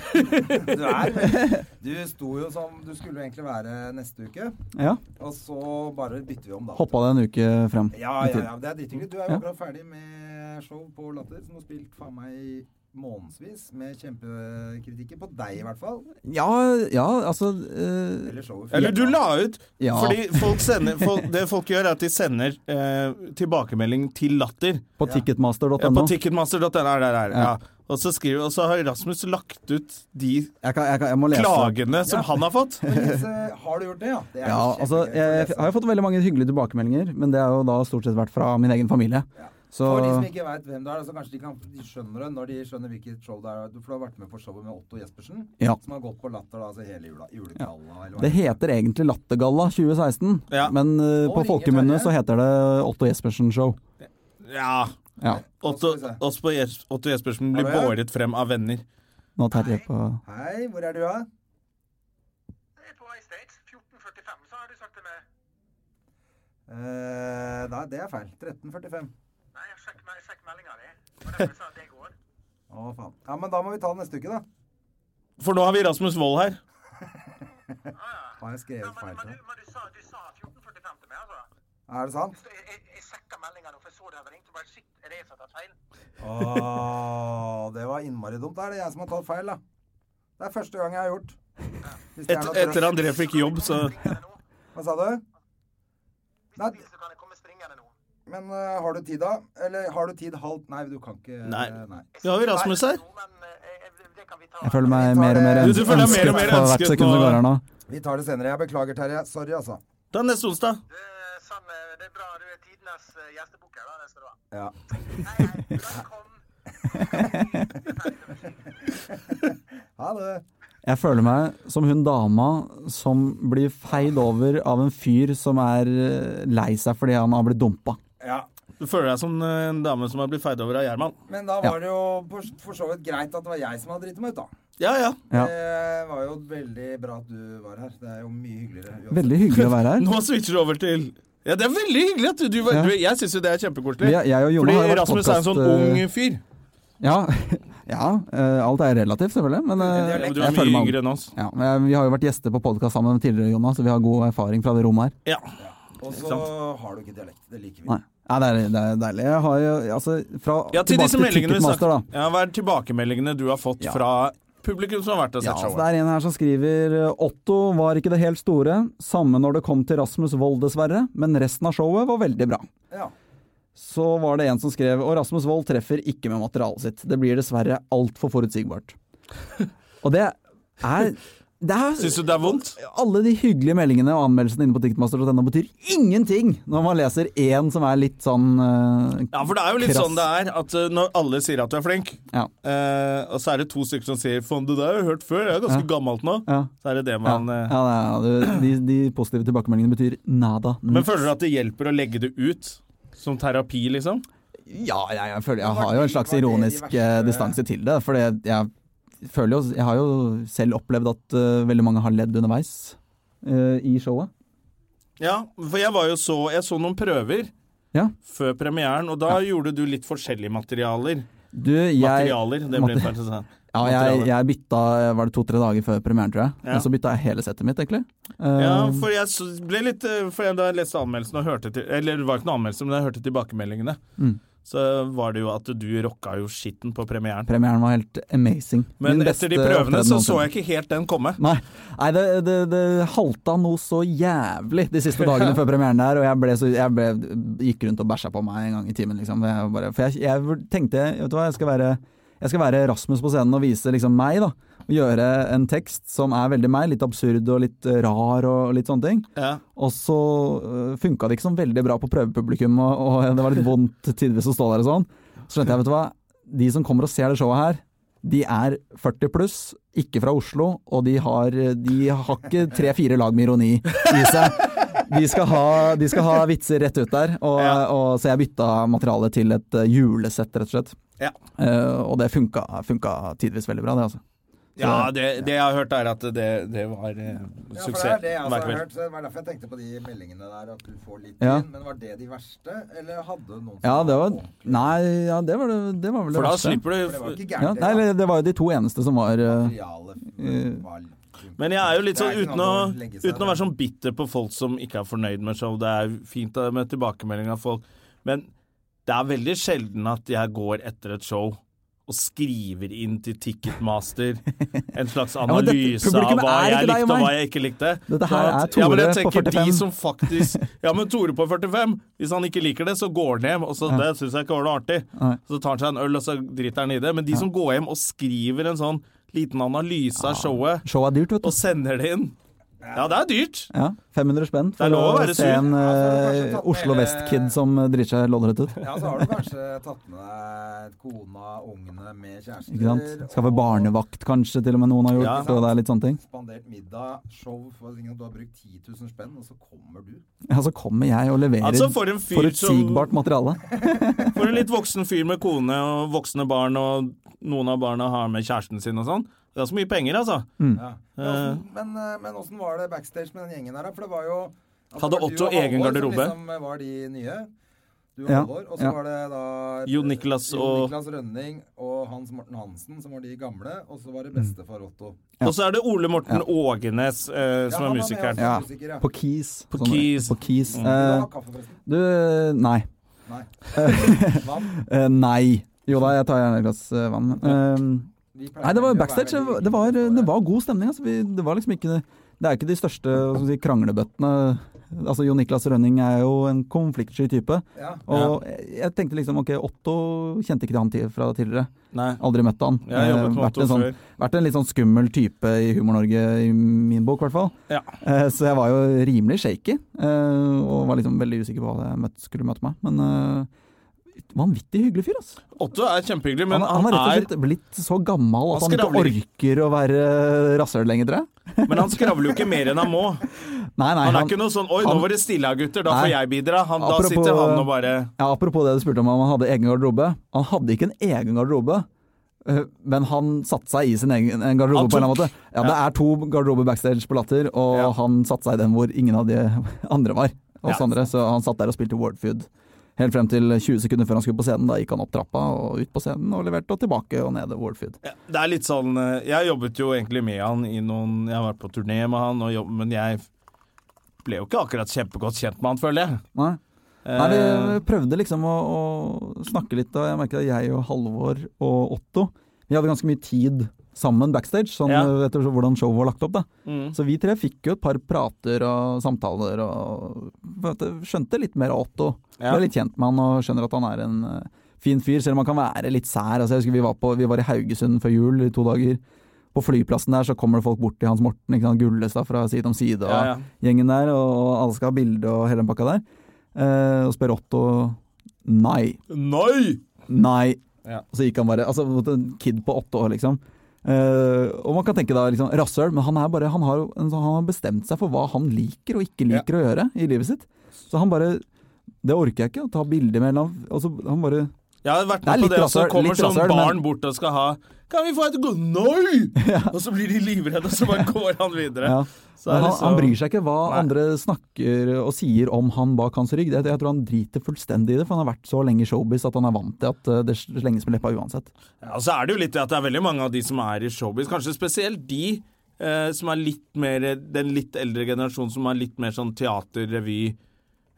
er vel- Du sto jo som du skulle egentlig være neste uke, Ja. og så bare bytter vi om da. Hoppa det en uke frem. Ja, ja, ja. Det er drithyggelig. Du er jo Ja. akkurat ferdig med show på Latter, som har spilt faen meg i månedsvis med kjempekritikker. På deg, i hvert fall. Ja, ja altså eh, Eller showet. Eller du la ut Ja. Fordi folk sender, folk, det folk gjør, er at de sender eh, tilbakemelding til Latter. På ticketmaster.no. Ja, på ticketmaster.no. er det der, Ja. Og, så skriver, og så har Rasmus lagt ut de jeg, kan, jeg, kan, jeg må lese. klagene som han har fått. Men Jens, har du gjort det, ja? Det er Ja, jo kjempegøy altså, å jeg, lese. jeg har jo fått veldig mange hyggelige tilbakemeldinger, men det er jo da stort sett vært fra min egen familie. Så For de som ikke veit hvem det er, så kanskje de, kan, de skjønner det når de skjønner hvilket show det er. For du har vært med på showet med Otto Jespersen, Ja. som har gått på Latter da, altså hele jula. Julegalla, eller hva det heter egentlig Lattergalla 2016, Ja. men eh, Nå på ringer folkemunne Terje. så heter det Otto Jespersen Show. Ja. Ja, Otto, Otto Jes- Otto Jespersen blir Hallo, ja. båret frem av venner. nå Terje på Hei, hvor er du, da? På vei States, 14.45, så har du sagt til meg. Eh, nei, det er feil. 13.45. Nei, jeg sjekk, me- sjekk meldinga di. Det var derfor jeg sa at det går. Å, faen. Ja, men da må vi ta det neste uke, da. For nå har vi Rasmus Wold her. Har jeg Ja, skrevet men, feil? til men, du, deg? men du, sa, du sa 14.45 til meg, altså. Er det sant? Så jeg, jeg, jeg sjekka meldinga nå, for jeg så det hadde ringt. Og bare shit, er det jeg som har tatt feil? Åh, det var innmari dumt. Da er det jeg som har tatt feil, da. Det er første gang jeg har gjort. Hvis det er Et, noe etter trøst. André fikk jobb, så Springende nå. Hva sa du? Hvis Nei. du vil, så kan jeg komme springende nå. Men eh, har du tid, da? Eller har du tid halv Nei, du kan ikke eh, Nei. nei. Ja, har vi Rasmus her. Jo, men eh, jeg- det kan vi ta. Jeg føler meg mer og mer Du- du føler deg mer ønsket og mer for ønsket hvert nå. sekund som går her nå. Vi tar det senere. Jeg beklager, Terje. Sorry, altså. Da neste onsdag. Det er Sånn, eh, det er bra du er tidenes eh, gjestebukker, da. Det skal du ha. Ja. Hei, hei. Velkommen. Ha det. Jeg føler meg som hun dama som blir feid over av en fyr som er eh, lei seg fordi han har blitt dumpa. Ja. Du føler deg som eh, en dame som har blitt feid over av Gjerman. Men da var det jo for, for så vidt greit at det var jeg som hadde driti meg ut, da. Ja, ja. Ja. Det var jo veldig bra at du var her. Det er jo mye hyggeligere. uansett. Veldig hyggelig å være her. Nå switcher du over til Ja, det er veldig hyggelig at du, du, Ja. du Jeg syns jo det er kjempekoselig. Vi er- jeg og Jonna Fordi har jo vært Rasmus er en sånn podcast, eh, ung fyr. Ja, ja eh, alt er relativt selvfølgelig, men Ja, eh, men du jeg er føler mye meg yngre enn oss. ja, men jeg- Vi har jo vært gjester på podkast sammen tidligere, Jonas, så vi har god erfaring fra det rommet her. Ja. Og Ikke så har du ikke dialekt. Det liker vi. Nei. Ja, det, er, det er deilig. Jeg har jo altså, fra, ja, til disse meldingene vi Ticketmaster, da. snakket ja, Hva er tilbakemeldingene du har fått Ja. fra publikum som har vært og Ja, sett så showet? det er en her som skriver eh, Otto var ikke det helt store, samme når det kom til Rasmus Wold dessverre, men resten av showet var veldig bra. Ja. Så var det en som skrev Og Rasmus Wold treffer ikke med materialet sitt. Det blir dessverre altfor forutsigbart. Og det er det Syns er, du det er vondt? alle de hyggelige meldingene og anmeldelsene inne på ticketmaster.no betyr ingenting når man leser én som er litt sånn eh, Ja, for det er jo litt krass. sånn det er at eh, når alle sier at du er flink, Ja. eh, og så er det to stykker som sier 'faen, det der har jeg hørt før, jeg er ganske gammelt nå', Ja. så er det det Ja, man eh, ja, det er- de, de positive tilbakemeldingene betyr nada. Men føler du at det hjelper å legge det ut? Som terapi, liksom? Ja, jeg, jeg, føler, jeg Men var har jo en de- slags var det de ironisk verste- eh, distanse til det. For jeg, jeg føler jo Jeg har jo selv opplevd at eh, veldig mange har ledd underveis eh, i showet. Ja, for jeg var jo så Jeg så noen prøver Ja. før premieren, og da gjorde du litt forskjellige materialer. Du, jeg Materialer, det ble Mater- feil å si. Ja, jeg, jeg bytta eh, Var det to-tre dager før premieren, tror jeg. Ja. Men så bytta jeg hele settet mitt, egentlig. Eh, Ja, for jeg s- ble litt eh, For jeg da jeg leste anmeldelsen og hørte til, Eller det var ikke noen anmeldelse, men jeg hørte tilbakemeldingene. Mm. Så var det jo at du rocka jo skitten på premieren. Premieren var helt amazing. Men Min etter de beste prøvene så opptreden så noensinne. jeg ikke helt den komme. Nei, nei det, det, det halta noe så jævlig de siste dagene før premieren der, og jeg, ble så, jeg ble, gikk rundt og bæsja på meg en gang i timen, liksom. Jeg bare, for jeg, jeg vur- tenkte, vet du hva, jeg skal være, jeg skal være Rasmus på scenen og vise liksom meg, da. Og gjøre en tekst som er veldig meg, litt absurd og litt eh, rar og litt sånne ting. Ja. Og så øh, funka det ikke sånn veldig bra på prøvepublikum, og, og det var litt vondt tidvis å stå der og sånn. Så skjønte jeg, vet du hva, de som kommer og ser det showet her, de er 40 pluss, ikke fra Oslo, og de har, de har ikke tre-fire lag med ironi i seg. De skal, ha, de skal ha vitser rett ut der, og, Ja. og, så jeg bytta materialet til et øh, julesett, rett og slett. Ja. Eh, og det funka, funka tidvis veldig bra, det, altså. ja, det, det jeg har hørt, er at det, det var eh, Ja, for det suksess er det jeg også hver har kveld. hørt. Så det var derfor jeg tenkte på de meldingene der, at du får litt Ja. inn. Men var det de verste, eller hadde noen som Ja, det var ordentlig? Nei, ja, det var, det- det var vel det For da verste. slipper For det var du ikke Ja, gærent, nei, det. eller det var jo de to eneste som var da. eh, Materialet var litt- Men jeg er jo litt Det sånn ikke uten å, noe legge seg uten å være sånn bitter på folk som ikke er fornøyd med show. Det er fint da med tilbakemelding av folk, men det er veldig sjelden at jeg går etter et show og skriver inn til Ticketmaster en slags men dette- analyse av publikummet hva er ikke jeg deg og likte og hva meg. jeg ikke likte. Dette Så her at- er ja, men jeg Tore på tenker De 45. som faktisk, ja, men Tore på 45, hvis han ikke liker det, så går han hjem, og så det syns jeg ikke var noe artig. Nei. Så tar han seg en øl, og så driter han i det. Men de som går hjem og skriver en sånn liten analyse Ah, av showet, Showet er dyrt, vet og du. sender det inn Ja, det er dyrt. Ja, 500 spenn Det er for lov å å være se sur. en Ja, så har du kanskje eh, tatt med Oslo hele- Vest-kid som eh, driter seg loddrett ut. Ja, så har du kanskje tatt med deg kona, ungene med kjærester. Ikke sant? Skaffe og barnevakt kanskje, til og med noen har gjort. Ja. Så det er litt sånne ting. Spandert middag, show for at du har brukt 10 000 spenn, og så kommer du. Ja, så kommer jeg og leverer Altså, for en fyr som forutsigbart materiale. For en litt voksen fyr med kone og voksne barn, og noen av barna har med kjæresten sin og sånn. Det er så mye penger, altså. Ja. Men åssen- Men, eh, men åssen var det backstage med den gjengen her, da? For det var jo altså, Hadde det var Otto du og egen Halvor som garderobe? Liksom var de nye. Du og Ja, Halvor. Og så ja. var det da Jon Niklas Jon og- Niklas Rønning og Hans Morten Hansen, som var de gamle. Og så var det bestefar Otto. Og så er det Ole Morten Ågenes eh, Ja, som han er var med musikeren. også. Ja. Musiker, ja. På Keys. På Sånn, Keys. Mm. På Keys. Du Eh, har kaffe, forresten? du, eh, nei. Nei. Vann? Eh, nei. Jo da, jeg tar gjerne et glass eh, vann. Eh, Vi pleier Nei, egentlig det var å være backstage. Det var, veldig det var, hyggelige på det var god stemning. Altså. Vi, det var liksom ikke Det er ikke de største hva skal vi si, kranglebøttene. Altså, Jon Niklas Rønning er jo en konfliktsky type. Ja. Og jeg- jeg tenkte liksom ok, Otto kjente ikke til han til- fra tidligere. Nei. Aldri møtt han. Jeg har jobbet Eh, med vært, Otto en før. sånn, vært en litt sånn skummel type i Humor-Norge i min bok, i hvert fall. Ja. Eh, Så jeg var jo rimelig shaky, eh, og var liksom veldig usikker på hva jeg møtte, skulle møte meg. Men eh, vanvittig hyggelig fyr, altså. Otto er kjempehyggelig, men Han, han han, har rett og er, slett blitt så gammel at Han han ikke skravler orker å være rasshøl lenger, tror jeg. men han skravler jo ikke mer enn han må. Nei, nei, Han er han- ikke noe sånn 'oi, nå han- var det stille her, gutter, da får Nei. jeg bidra'. Han, da Apropos- sitter han og bare ja, apropos det du spurte om om han hadde egen garderobe. Han hadde ikke en egen garderobe, eh, men han satte seg i sin egen en Han garderobe på en eller tok- annen måte. Ja, det er to garderober backstage på Latter, og Ja. han satte seg i den hvor ingen av de andre var. Oss Ja. andre, så han satt der og spilte Wordfood. Helt frem til 20 sekunder før han skulle på scenen. Da gikk han opp trappa og ut på scenen og leverte, og tilbake og ned Wordfood. Ja, Det er litt sånn eh, Jeg jobbet jo egentlig med han i noen Jeg har vært på turné med han, og jobb, men jeg ble jo ikke akkurat kjempegodt kjent med han, føler jeg. Nei. Eh, Nei, vi prøvde liksom å, å snakke litt, og jeg merket at jeg og Halvor og Otto Vi hadde ganske mye tid sammen backstage, sånn Ja. etter hvordan showet var lagt opp. da. Mm. Så vi tre fikk jo et par prater og samtaler og på en måte skjønte litt mer av Otto. Ja. Ble litt kjent med han og skjønner at han er en eh, fin fyr, selv om han kan være litt sær. Altså, jeg husker Vi var, på, vi var i Haugesund før jul i to dager. På flyplassen der så kommer det folk bort til Hans Morten, ikke sant? Gullestad fra Side om side. Og, ja, ja. gjengen der, og alle skal ha bilde og hele den pakka der. Eh, og spør Otto nei, Nei! nei. Ja. Og så gikk han bare Altså, en kid på åtte år, liksom. Eh, og man kan tenke da liksom, rasshøl, men han, er bare, han, har, jo en sånn- han har bestemt seg for hva han liker og ikke liker å gjøre i livet sitt. Så han bare Det orker jeg ikke, å ta bilde med en eller annen og så Han bare Jeg har vært Det er med på litt det, og så rasshøl- kommer litt sånn rasshøl, barn men- bort og skal ha Kan vi få et god Nei! Og så blir de livredde, og så bare går han videre. Ja. Så er Men det han, han så- bryr seg ikke hva Nei. andre snakker og sier om han bak hans rygg. Jeg, jeg tror han driter fullstendig i det, for han har vært så lenge i showbiz at han er vant til at eh, det slenges med leppa uansett. Ja, og så er det jo litt det at det er veldig mange av de som er i showbiz, kanskje spesielt de eh, som er litt mer Den litt eldre generasjonen som er litt mer sånn teater, revy,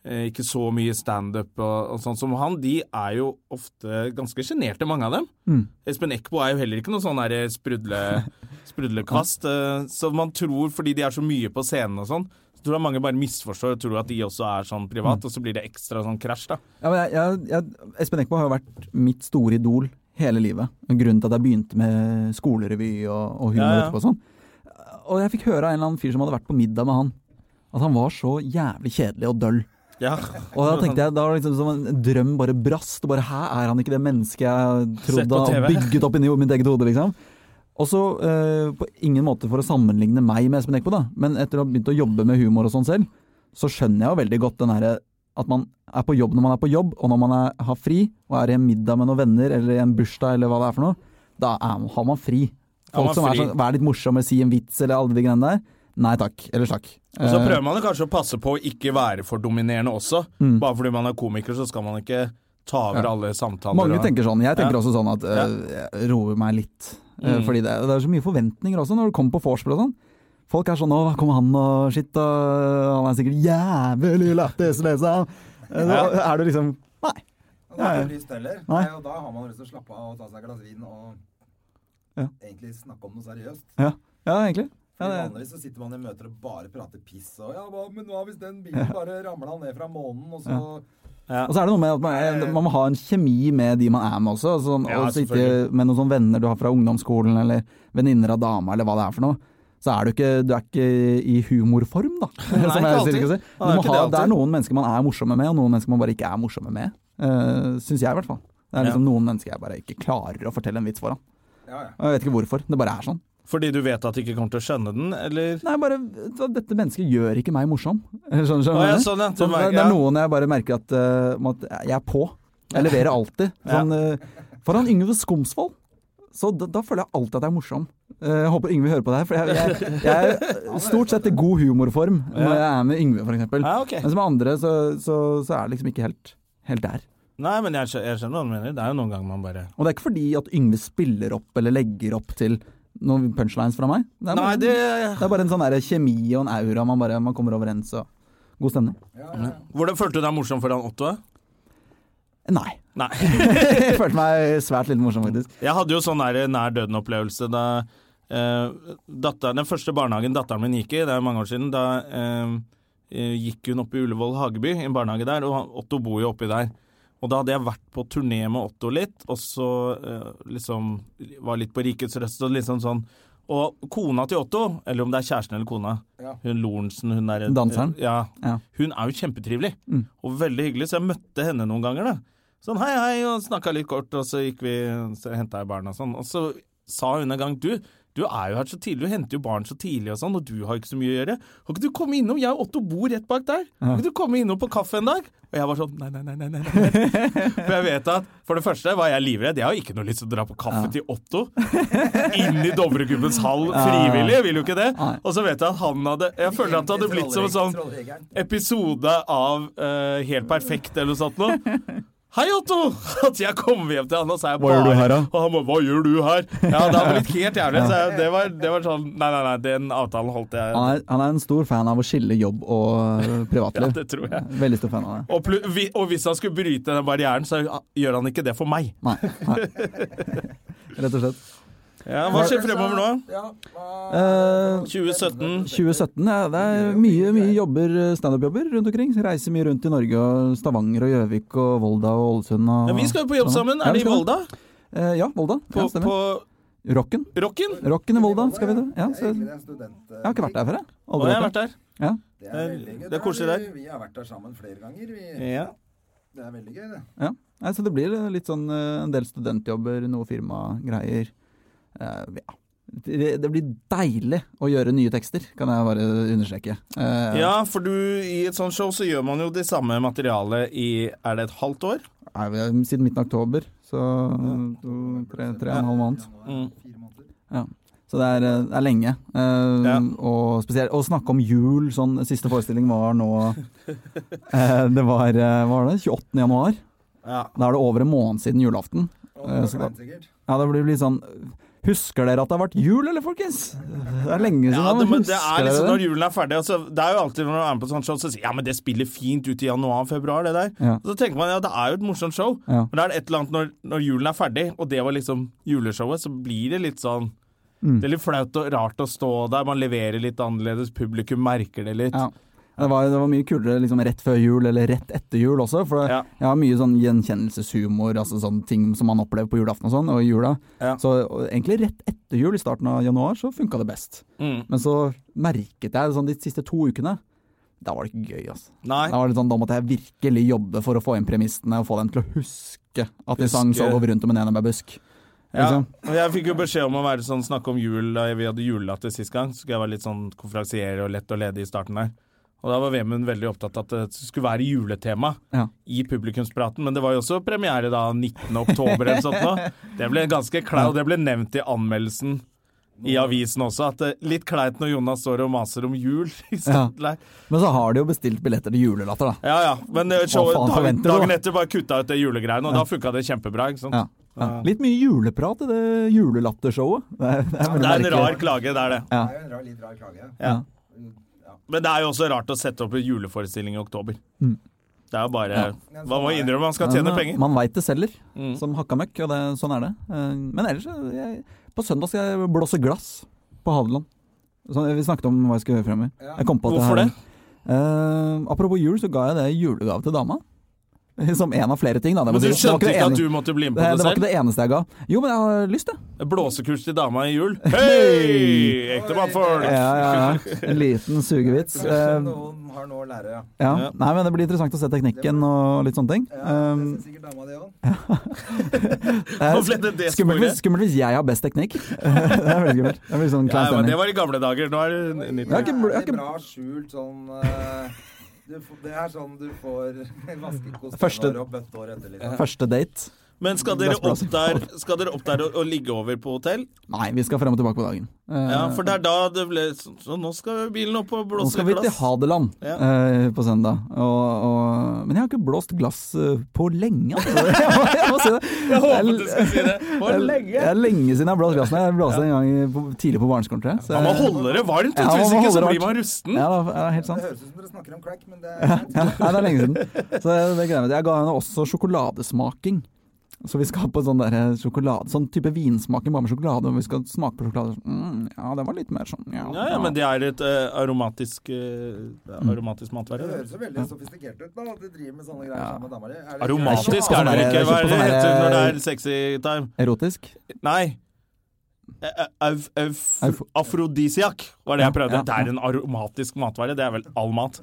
eh, ikke så mye standup og, og sånn som han, de er jo ofte ganske sjenerte, mange av dem. Mm. Espen Eckbo er jo heller ikke noe sånn der sprudle, sprudlekvast. eh, Så man tror, fordi de er så mye på scenen og sånn, så tror jeg mange bare misforstår og tror at de også er sånn privat, Mm. og så blir det ekstra sånn krasj, da. Ja, men jeg, jeg, jeg, Espen Eckbo har jo vært mitt store idol hele livet. Grunnen til at jeg begynte med skolerevy og, og humor Ja, ja. etterpå og sånn. Og jeg fikk høre av en eller annen fyr som hadde vært på middag med han, at han var så jævlig kjedelig og døll. Ja. Og da tenkte jeg, da var det liksom som en drøm bare brast. Og bare Hæ, er han ikke det mennesket jeg Sett på trodde og TV. bygget opp inni mitt eget hode, liksom? Og så, eh, på ingen måte for å sammenligne meg med Espen Eckbo, da, men etter å ha begynt å jobbe med humor og sånn selv, så skjønner jeg jo veldig godt den herre at man er på jobb når man er på jobb, og når man er, har fri, og er i en middag med noen venner, eller i en bursdag, eller hva det er for noe, da er, har man fri. Har Folk man som er fri. sånn, vær litt morsom, eller si en vits, eller alle de greiene der. Nei takk. Eller takk. Og så Eh, prøver man jo kanskje å passe på å ikke være for dominerende også. Mm. Bare fordi man er komiker, så skal man ikke ta over alle samtaler. Mange og- tenker sånn. Jeg tenker også sånn at øh, jeg roer meg litt. Øh, Mm. Fordi det, det er så mye forventninger også når du kommer på vorspiel og sånn. Folk er sånn 'Å, hva kommer han og shit', og han er sikkert jævlig lættis, liksom. Eh, Da Ja. er du liksom Nei. Og da er det Ja, ja. ikke lyst heller. Nei. Og da har man lyst til å slappe av og ta seg et glass vin og Ja. egentlig snakke om noe seriøst. Ja, ja egentlig. Ja, Fordi det, Vanligvis så sitter man i møter og bare prater piss. Og ja, hva, men hva hvis den bilen bare ramla ned fra månen, og så og så er det noe med at man, man må ha en kjemi med de man er med også. Altså, Ja, og sitte selvfølgelig. med noen sånne venner du har fra ungdomsskolen, eller venninner av dama, eller hva det er for noe. Så er du ikke, du er ikke i humorform, da. ikke som jeg sier ikke alltid. å si. Du Ja, det er må ikke ha, det det er alltid. noen mennesker man er morsomme med, og noen mennesker man bare ikke er morsomme med. Uh, Syns jeg, i hvert fall. Det er liksom noen mennesker jeg bare ikke klarer å fortelle en vits foran. Ja, ja. Og Jeg vet ikke hvorfor. Det bare er sånn. Fordi du vet at de ikke kommer til å skjønne den, eller? Nei, bare vet du hva, Dette mennesket gjør ikke meg morsom. Skjønner skjønner du? hva Å, ja, jeg mener? sånn, ja. Du Så det, merker- det ja. er noen jeg bare merker at, eh, om at jeg er på. Jeg leverer alltid. Sånn, eh, foran Yngve Skomsvold så da, da føler jeg alltid at jeg er morsom. Eh, jeg håper Yngve hører på det her, for jeg, jeg, jeg er stort sett i god humorform når jeg er med Yngve, f.eks. Ja, ok. Men som andre så, så, så er det liksom ikke helt, helt der. Nei, men jeg, skjø- jeg skjønner hva du mener. Det er jo noen ganger man bare Og det er ikke fordi at Yngve spiller opp eller legger opp til noen punchlines fra meg. Det er bare, Nei, det det er bare en sånn der kjemi og en aura man bare man kommer overens og God stemning. Hvordan følte du deg morsom foran Otto? Nei. Nei. Jeg følte meg svært litt morsom, faktisk. Jeg hadde jo sånn der nær døden-opplevelse da eh, datter, Den første barnehagen datteren min gikk i, det er mange år siden, da eh, eh, gikk hun opp i Ullevål Hageby, i en barnehage der, og han- Otto bor jo oppi der. Og da hadde jeg vært på turné med Otto litt, og så eh, liksom var litt på rikets røst og liksom sånn. Og kona til Otto, eller om det er kjæresten eller kona, Ja. hun Lorentzen, hun der Danseren? Ja. Ja. Mm. Hun er jo kjempetrivelig og veldig hyggelig, så jeg møtte henne noen ganger. da. Sånn hei, hei, og snakka litt kort, og så gikk vi, så henta jeg barna og sånn. Og så sa hun en gang du, du er jo her så tidlig, du henter jo barn så tidlig og sånn, og du har ikke så mye å gjøre. Kan ikke du komme innom, jeg og Otto bor rett bak der, kan ikke du komme innom på kaffe en dag? Og jeg var sånn nei, nei, nei, nei. nei, nei. For jeg vet at for det første var jeg livredd, jeg har jo ikke noe lyst til å dra på kaffe til Otto. Inn i Dovregubbens hall frivillig, jeg vil jo ikke det. Og så vet jeg at han hadde Jeg føler at det hadde blitt som en sånn Trolljegeren. episode av eh, Helt perfekt eller noe sånt noe. Hei, Otto! At jeg kom hjem til han og sa jeg Hva gjør du her, da? Og han bare Hva gjør du her? Ja, det hadde blitt helt jævlig. Så jeg, det, var, det var sånn Nei, nei, nei, den avtalen holdt jeg. Han er, han er en stor fan av å skille jobb og eh, Ja, privatliv. det tror jeg. Veldig stor fan av det. Og, plu- vi, og hvis han skulle bryte den barrieren, så gjør han ikke det for meg. Nei. nei. Rett og slett. Ja, Hva skjer fremover nå? Ja, hva- Eh, 2017. 2017, ja. Det er mye mye jobber, eh, standup-jobber rundt omkring. Reiser mye rundt i Norge og Stavanger og Gjøvik og Volda og Ålesund og Ja, vi skal jo på jobb sammen. Ja, Er det vi i skal Volda? Eh, ja, Volda. På, Ja, stemmer. på Rocken. Rocken? Rocken i Volda skal vi det. Ja, Det er så egentlig jeg en student... eh, har ikke vært der før, jeg. Og Aldri jeg har vært der. vært der. Ja. Det Det er- er, veldig gøy. det er koselig vi- der. Vi har vært der sammen flere ganger. Vi, Ja. det er veldig gøy, det. Ja. Nei, så det blir litt sånn eh, en del studentjobber, noe firmagreier. Eh, ja. Det, det blir deilig å gjøre nye tekster, kan jeg bare understreke. Eh, Ja, for du, i et sånt show så gjør man jo det samme materialet i Er det et halvt år? er vi- Siden midten av oktober, så to, tre, tre og en halv måned. Mm. Januar, fire måneder. Ja. Så det er, eh, det er lenge. Eh, Ja. Og spesielt å snakke om jul sånn Siste forestilling var nå eh, Det var, eh, hva var det, 28. januar. Ja. Da er det over en måned siden julaften. Og det Eh, var så da- kleint, sikkert. Ja, det blir litt sånn Husker dere at det har vært jul, eller, folkens? Det er lenge siden. Ja, det, men men det husker er liksom dere når julen er ferdig altså, Det er jo alltid når man er med på sånt show Så sier ja, men det spiller fint ut i januar-februar det der Ja. Og Så tenker man, ja, det er jo et morsomt show Ja. Men da er det et eller annet når, når julen er ferdig Og det var liksom juleshowet Så blir det litt sånn Mm. Det er litt flaut og rart å stå der Man leverer litt annerledes, publikum merker det litt Ja. Det var, det var mye kulere liksom, rett før jul eller rett etter jul også, for Ja. jeg har mye sånn gjenkjennelseshumor, altså sånn ting som man opplever på julaften og sånn, og i jula. Ja. Så og egentlig rett etter jul, i starten av januar, så funka det best. Mm. Men så merket jeg sånn de siste to ukene, da var det ikke gøy, altså. Nei, Da, var det sånn, da måtte jeg virkelig jobbe for å få inn premissene og få dem til å huske at de sang Huske. 'Så går vi rundt om en enebær busk'. ja. Liksom. og jeg fikk jo beskjed om å være sånn Snakke om jul, da vi hadde julelatter sist gang Så skulle jeg være litt sånn konferansier og lett og ledig i starten der Og da var Vemund veldig opptatt av At det skulle være juletema Ja. i publikumspraten, men det var jo også premiere da 19. oktober eller sånt nå. Det ble ganske kleint, og det ble nevnt i anmeldelsen i avisen også, at det er litt kleit når Jonas står og maser om jul. i starten der. Men så har de jo bestilt billetter til julelatter, da. Ja ja, men eh, showet faen dagen, forventer du, da? dagen etter bare kutta ut det julegreiene, og da funka det kjempebra. ikke sant? Ja. Ja. Litt mye juleprat i det julelattershowet. Det er, det er, Det veldig er en merkelig. rar klage, det er det. Ja. Det er Eh, jo en rar, litt rar klage. Ja. Men det er jo også rart å sette opp en juleforestilling i oktober. Det er jo bare Ja. Man må innrømme man skal tjene Mm. Men, eh, penger. Man veit det selger, Mm. som hakka møkk, og det, sånn er det. Eh, Men ellers, eh, jeg, på søndag skal jeg blåse glass på Hadeland. Sånn, vi snakket om hva jeg skulle gjøre fremover. Ja. Jeg kom på at Hvorfor jeg det? har- Eh, apropos jul, så ga jeg det i julegave til dama. Som en av flere ting, da. Det, Men var- du det var skjønte det ikke ene- at du måtte bli med på det, det det var ikke selv? det eneste jeg ga. Jo, men jeg har lyst, jeg. Blåsekurs til dama i jul? Hei! Ekte mannfolk! Ja, ja, ja. En liten sugevits. Eh, Kanskje noen har noe å lære, ja. ja. Nei, men det blir interessant å se teknikken og litt sånne ting. ja det Um, syns sikkert dama di òg. det er Nå ble det det skummelt, spoilet. hvis, skummelt hvis jeg har best teknikk. det er veldig skummelt. Det blir Ja, sånn klein men stemning. det var i gamle dager. Nå er det n- nytt. har ikke bl- jeg har ikke- bra skjult sånn eh, du, får- Det er sånn du får vaskekost Første- og bøtteår etter, liksom. Første date. Men skal dere Glassblås. opp der, skal dere opp der og, og ligge over på hotell? Nei, vi skal frem og tilbake på dagen. Eh, Ja, for det er da det ble Så, så nå skal bilen opp og Nå blåse skal vi til glass. Hadeland Ja. eh, på søndag. Og, og, men jeg har ikke blåst glass eh, på lenge. Altså. Jeg, må, jeg må si det. Jeg håpet du skulle si det. For Det lenge! er lenge siden jeg har blåst glass. Jeg blåste en gang i- på, tidlig på barneskolen, tror jeg. Så Man må jeg- holde det varmt, vet du, Ja, man hvis må ikke så holde det blir man rusten. ja, det er helt Det sant. høres ut som dere snakker om crack, men det er Ja, nei, det er lenge siden. Så det gleder jeg meg til. Jeg ga henne også sjokoladesmaking. Så vi skal på sånn der sjokolade, sånn type vinsmaking bare med sjokolade. Og vi skal smake på sjokolade. Mm, ja, det var litt mer sånn. Ja, Ja, ja, men det er et eh, aromatisk, eh, Mm. aromatisk matvare. Det det. høres jo veldig sofistikert ut da, at du driver med sånne greier sammen med dama di. Er det- Aromatisk er på det vel ikke. Hva sånn der- er jeg det kjøpte heter sånn når det der- er sexy time? Erotisk. Nei. Eh, Av, av, Eufo- afrodisiak var det jeg prøvde. ja, Det er en aromatisk matvare. Det er vel all mat.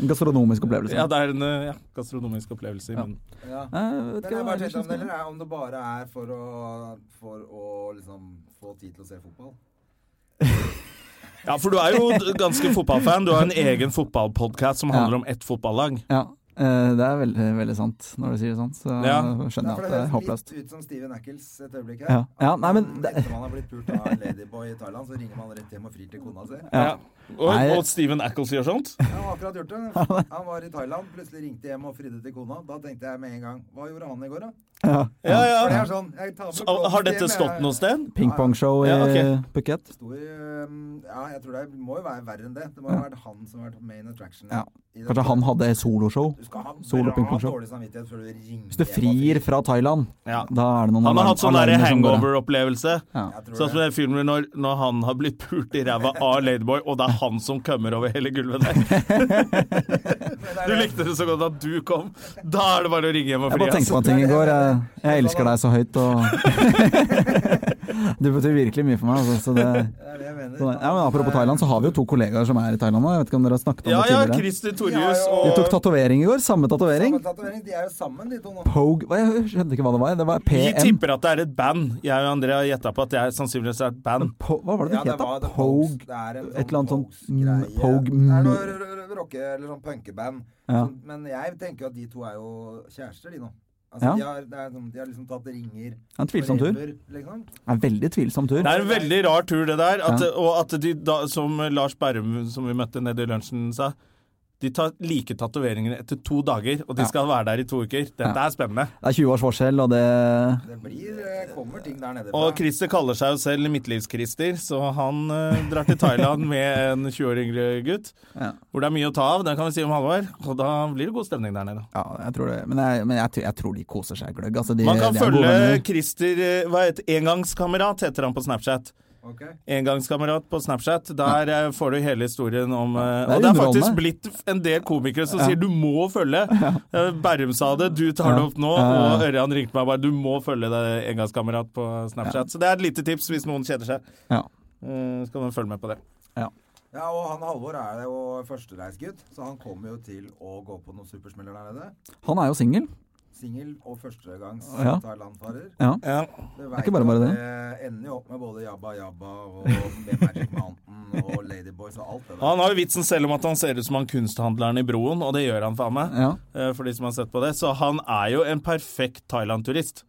En gastronomisk opplevelse. Ja, det er en eh, ja, gastronomisk opplevelse. i munnen. Ja. Eh, vet Men ikke jeg hva bare jeg tenkte om det, synes. eller er om det bare er for å, for å liksom få tid til å se fotball. Ja, for du er jo d- ganske fotballfan. Du har en egen fotballpodkast som handler om ett fotballag. Ja, eh, det er veldig, veldig sant når du sier det sånn. Så Ja. Ja, skjønner jeg for at det det er høres håpløst. litt ut som Steven Ackles et øyeblikk her. Ja. Ja, nei, men At man- det- Etter man har blitt pult av en ladyboy i Thailand, så ringer man rett hjem og frir til kona si. Ja. Ja. Og, Nei. og Steven Ackles gjør sånt. Han har akkurat gjort det. Han var i Thailand, plutselig ringte hjem og fridde til kona. Da tenkte jeg med en gang Hva gjorde han i går, da? Ja. Ja, For det ja. er sånn, jeg tar med Så, har dette blomster hjem, stått jeg- noe sted? Pingpongshow i Ja, ok. Phuket. Stor, um, ja, jeg tror det må jo være verre enn det. Det må jo ha vært han som har vært main attraction. Ja. i dette. Kanskje han hadde soloshow. Du skal ha solo bra pingpongshow. dårlig samvittighet før du ringer Hvis du frir fra Thailand, Ja. da er det noen Han har alarm- hatt sånn alarmer der som går av. hangover-opplevelse. Ja. Sånn som den filmen når, når han har blitt pult i ræva av Ladyboy, og det er han som kømmer over hele gulvet der. Du likte det så godt at du kom. Da er det bare å ringe hjem og Jeg fri. altså. bare tenkte på en ting i går. Jeg, jeg elsker deg så høyt, og Du betyr virkelig mye for meg. Altså, så det, Det er det jeg mener. så det. Ja, men apropos Thailand, så har vi jo to kollegaer som er i Thailand nå. Jeg vet ikke om dere har snakket om Ja, det ja, tidligere. Christer Torjus De tok og tatovering i går. Samme tatovering. Samme tatovering. De er jo sammen, de to nå. Pogue Hva- Jeg skjønte ikke hva det var. Det var Vi PM. tipper at det er et band. Jeg og André har gjetta på at det er sannsynligvis er et band. Po hva var det det het, var da? The Pogues. Pogue Det er en et eller annet sånn Pogues-greie. mm, Pogue- Det er noe r- r- r- rocke- eller sånn punkeband. Ja. Sånn, Men jeg tenker jo at de to er jo kjærester, de nå. Altså, Ja. de, har, det er, sånn- de har liksom tatt ringer En tvilsom tur. forever, Liksom. Det er veldig tvilsom tur. Det er en veldig rar tur, det der. At, Ja. Og at de, da, som Lars Berrum, som vi møtte nede i lunsjen, sa de tar like tatoveringene etter to dager, og de Ja. skal være der i to uker. Dette er spennende. Det er 20 års forskjell, og det Det blir, eh, kommer ting der nede Og Christer kaller seg jo selv Midtlivs-Christer, så han eh, drar til Thailand med en 20 år yngre gutt. Ja. Hvor det er mye å ta av, det kan vi si om Halvor. Og da blir det god stemning der nede. Ja, jeg tror det. Men jeg, men jeg, tror- jeg tror de koser seg gløgg. Altså, de, Man kan de er gode følge venner. Christer eh, hva heter, Engangskamerat heter han på Snapchat. Ok. Engangskamerat på Snapchat. Der eh, får du hele historien om eh, Det er Og det er underholdende. faktisk blitt en del komikere som sier du må følge. Eh, Berrum sa det, du tar det Ja. opp nå. Ja, ja, Og Ørjan ringte meg bare du må følge det Engangskamerat på Snapchat. Så det er et lite tips hvis noen kjeder seg. Ja. Eh, Så kan man følge med på det. Ja, og han Halvor er jo førstereisgutt, så han kommer jo til å gå på noen supersmeller der nede. Han er jo singel. Singel og førstegangs Ja. Thailand-farer. Ja. Ja. Det ikke bare bare det. ender jo opp med både Jabba Jabba og The Magic Mountain og Ladyboys og alt det der. Han har jo vitsen selv om at han ser ut som han kunsthandleren i Broen, og det gjør han faen meg. Ja. eh, For de som har sett på det. Så han er jo en perfekt Thailand-turist.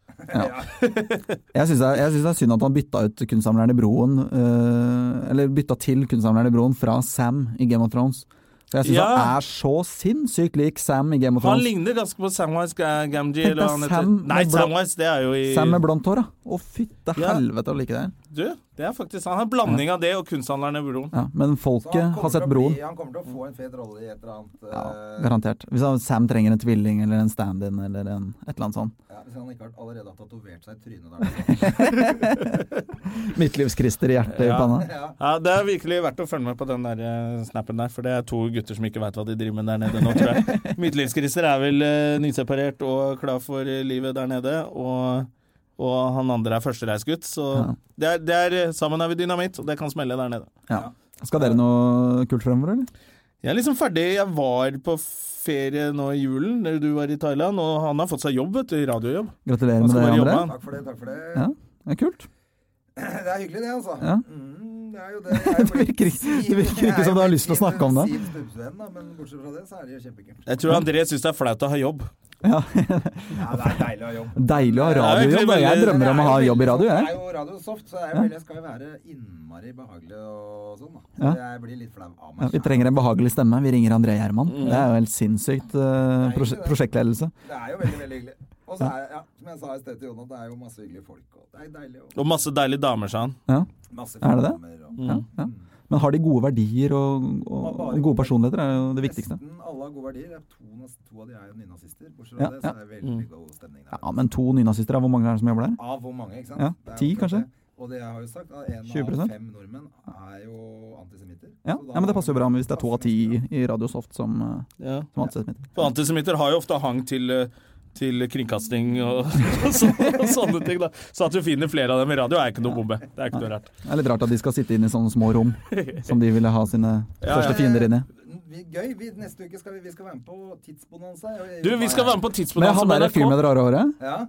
Jeg syns det, er- jeg synes det er synd at han bytta ut kunstsamleren i Broen øh, Eller bytta til kunstsamleren i Broen fra Sam i Game of Thrones. For jeg syns Ja. han er så sinnssykt lik Sam i Game of Han Thrones. ligner ganske på Samwise Ga- Gamgee. Tenk eller deg hva han heter. Sam med Nei, blå- Samwise, det er jo i Sam med blondt hår, da. Å, fytte Ja. helvete å like det. Du, det er faktisk Han er en blanding av det og kunsthandleren i Broen. Ja, men Så han folket kommer til har sett å broren. Bli, han kommer til å få en fet rolle i et eller annet Ja, eh, garantert. Hvis han- Sam trenger en tvilling eller en stand-in eller en, et eller annet sånt. ja, Hvis han ikke har allerede har tatovert seg i trynet der. Midtlivskrister i hjertet i Ja. panna. Ja. Ja, Det er virkelig verdt å følge med på den der eh, snappen der, for det er to gutter som ikke veit hva de driver med der nede nå, tror jeg. Midtlivskrister er vel eh, nyseparert og klar for eh, livet der nede, og, og han andre er førstereisgutt, så det er, det er eh, Sammen er vi dynamitt, og det kan smelle der nede. Ja. Skal dere noe kult fremover, eller? Jeg er liksom ferdig. Jeg var på ferie nå i julen, da du var i Thailand, og han har fått seg jobb, vet du. Radiojobb. Gratulerer Han med skal det, bare jobbe, André. han. Takk for det, takk for det. Ja, det er kult. Det er hyggelig, det, altså. Ja. Mm, det er jo det. Jeg er jo Det virker ikke- det virker ikke Jeg er som du har jo lyst til å blitt snakke om det. Siv Stubbsveen, da, men bortsett fra det, så er det jo kjempekult. Jeg tror André syns det er flaut å ha jobb. Ja. Ja, det er deilig å ha jobb. Deilig å ha Det er egentlig radiojobb. og Jeg veldig- drømmer om å ha jobb i radio, jeg. Det er jeg. jo radio soft, så det er jo veldig, jeg skal jo være innmari behagelig og sånn, da. Så jeg blir litt flau av Ja, meg. vi trenger en behagelig stemme. Vi ringer André Gjerman. Mm. Det er jo helt sinnssykt eh, prosje prosjektledelse. selv. Det er jo veldig, veldig hyggelig. Og så er det, ja, som jeg sa i sted til Jonas, det er jo masse hyggelige folk, og det er deilig å Og masse deilige damer, sa han. Ja. Masse Er det det? filmer og Mm. Ja, ja. Men har de gode verdier og, og, og gode personligheter, er jo det viktigste. Nesten alle har gode verdier. Det er To, nas- to av de er jo nynazister. Bortsett fra Ja, det, så er det veldig god stemning der. Ja, men to nynazister, ja, hvor mange er det som jobber der? Av hvor mange, ikke sant? Ja, Det er jo ti, akkurat kanskje? det. Og det jeg har jo sagt, at en 20%? av fem nordmenn er jo antisemitter. Ja, Så da- ja, men det passer jo bra med hvis det er to av ti Ja. i Radio Soft som, eh, Ja. som antisemitter. For antisemitter har jo ofte hang til eh, til kringkasting og, og, sånne, og sånne ting. da Så at du finner flere av dem i radio, er ikke noe bombe. Det er ikke noe rart. Det er litt rart at de skal sitte inne i sånne små rom som de ville ha sine Ja, største ja. fiender inn i. Mm, Vi, gøy. Vi, neste uke skal vi, vi skal være med på Tidsbonanza. Du, vi skal være med på Men Tidsbonanza han med der fyren med NRK. det rare håret, Ja.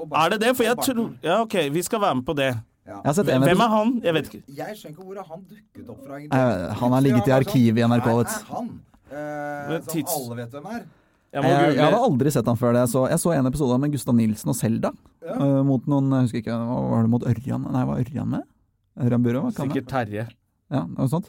Og Barton. Er det det? For jeg Og tror Barton. Ja, OK, vi skal være med på det. Ja. jeg har sett en Hvem er episode han? Jeg vet ikke. Jeg skjønner ikke hvor han dukket opp fra. egentlig. Eh, han har ligget i Plutselig arkivet i han NRK, bare vet sånn, "Nei, er du. han. Eh, Men som tids- alle vet hvem er. Jeg må jeg, jeg hadde google. aldri sett han før det. Jeg så, jeg så en episode med Gustav Nilsen og Selda. eh, mot noen, jeg husker ikke, hva var det mot Ørjan? Nei, var Ørjan med? Ørjan Burøe? var ikke han med? Sikkert Terje. Ja, noe sånt.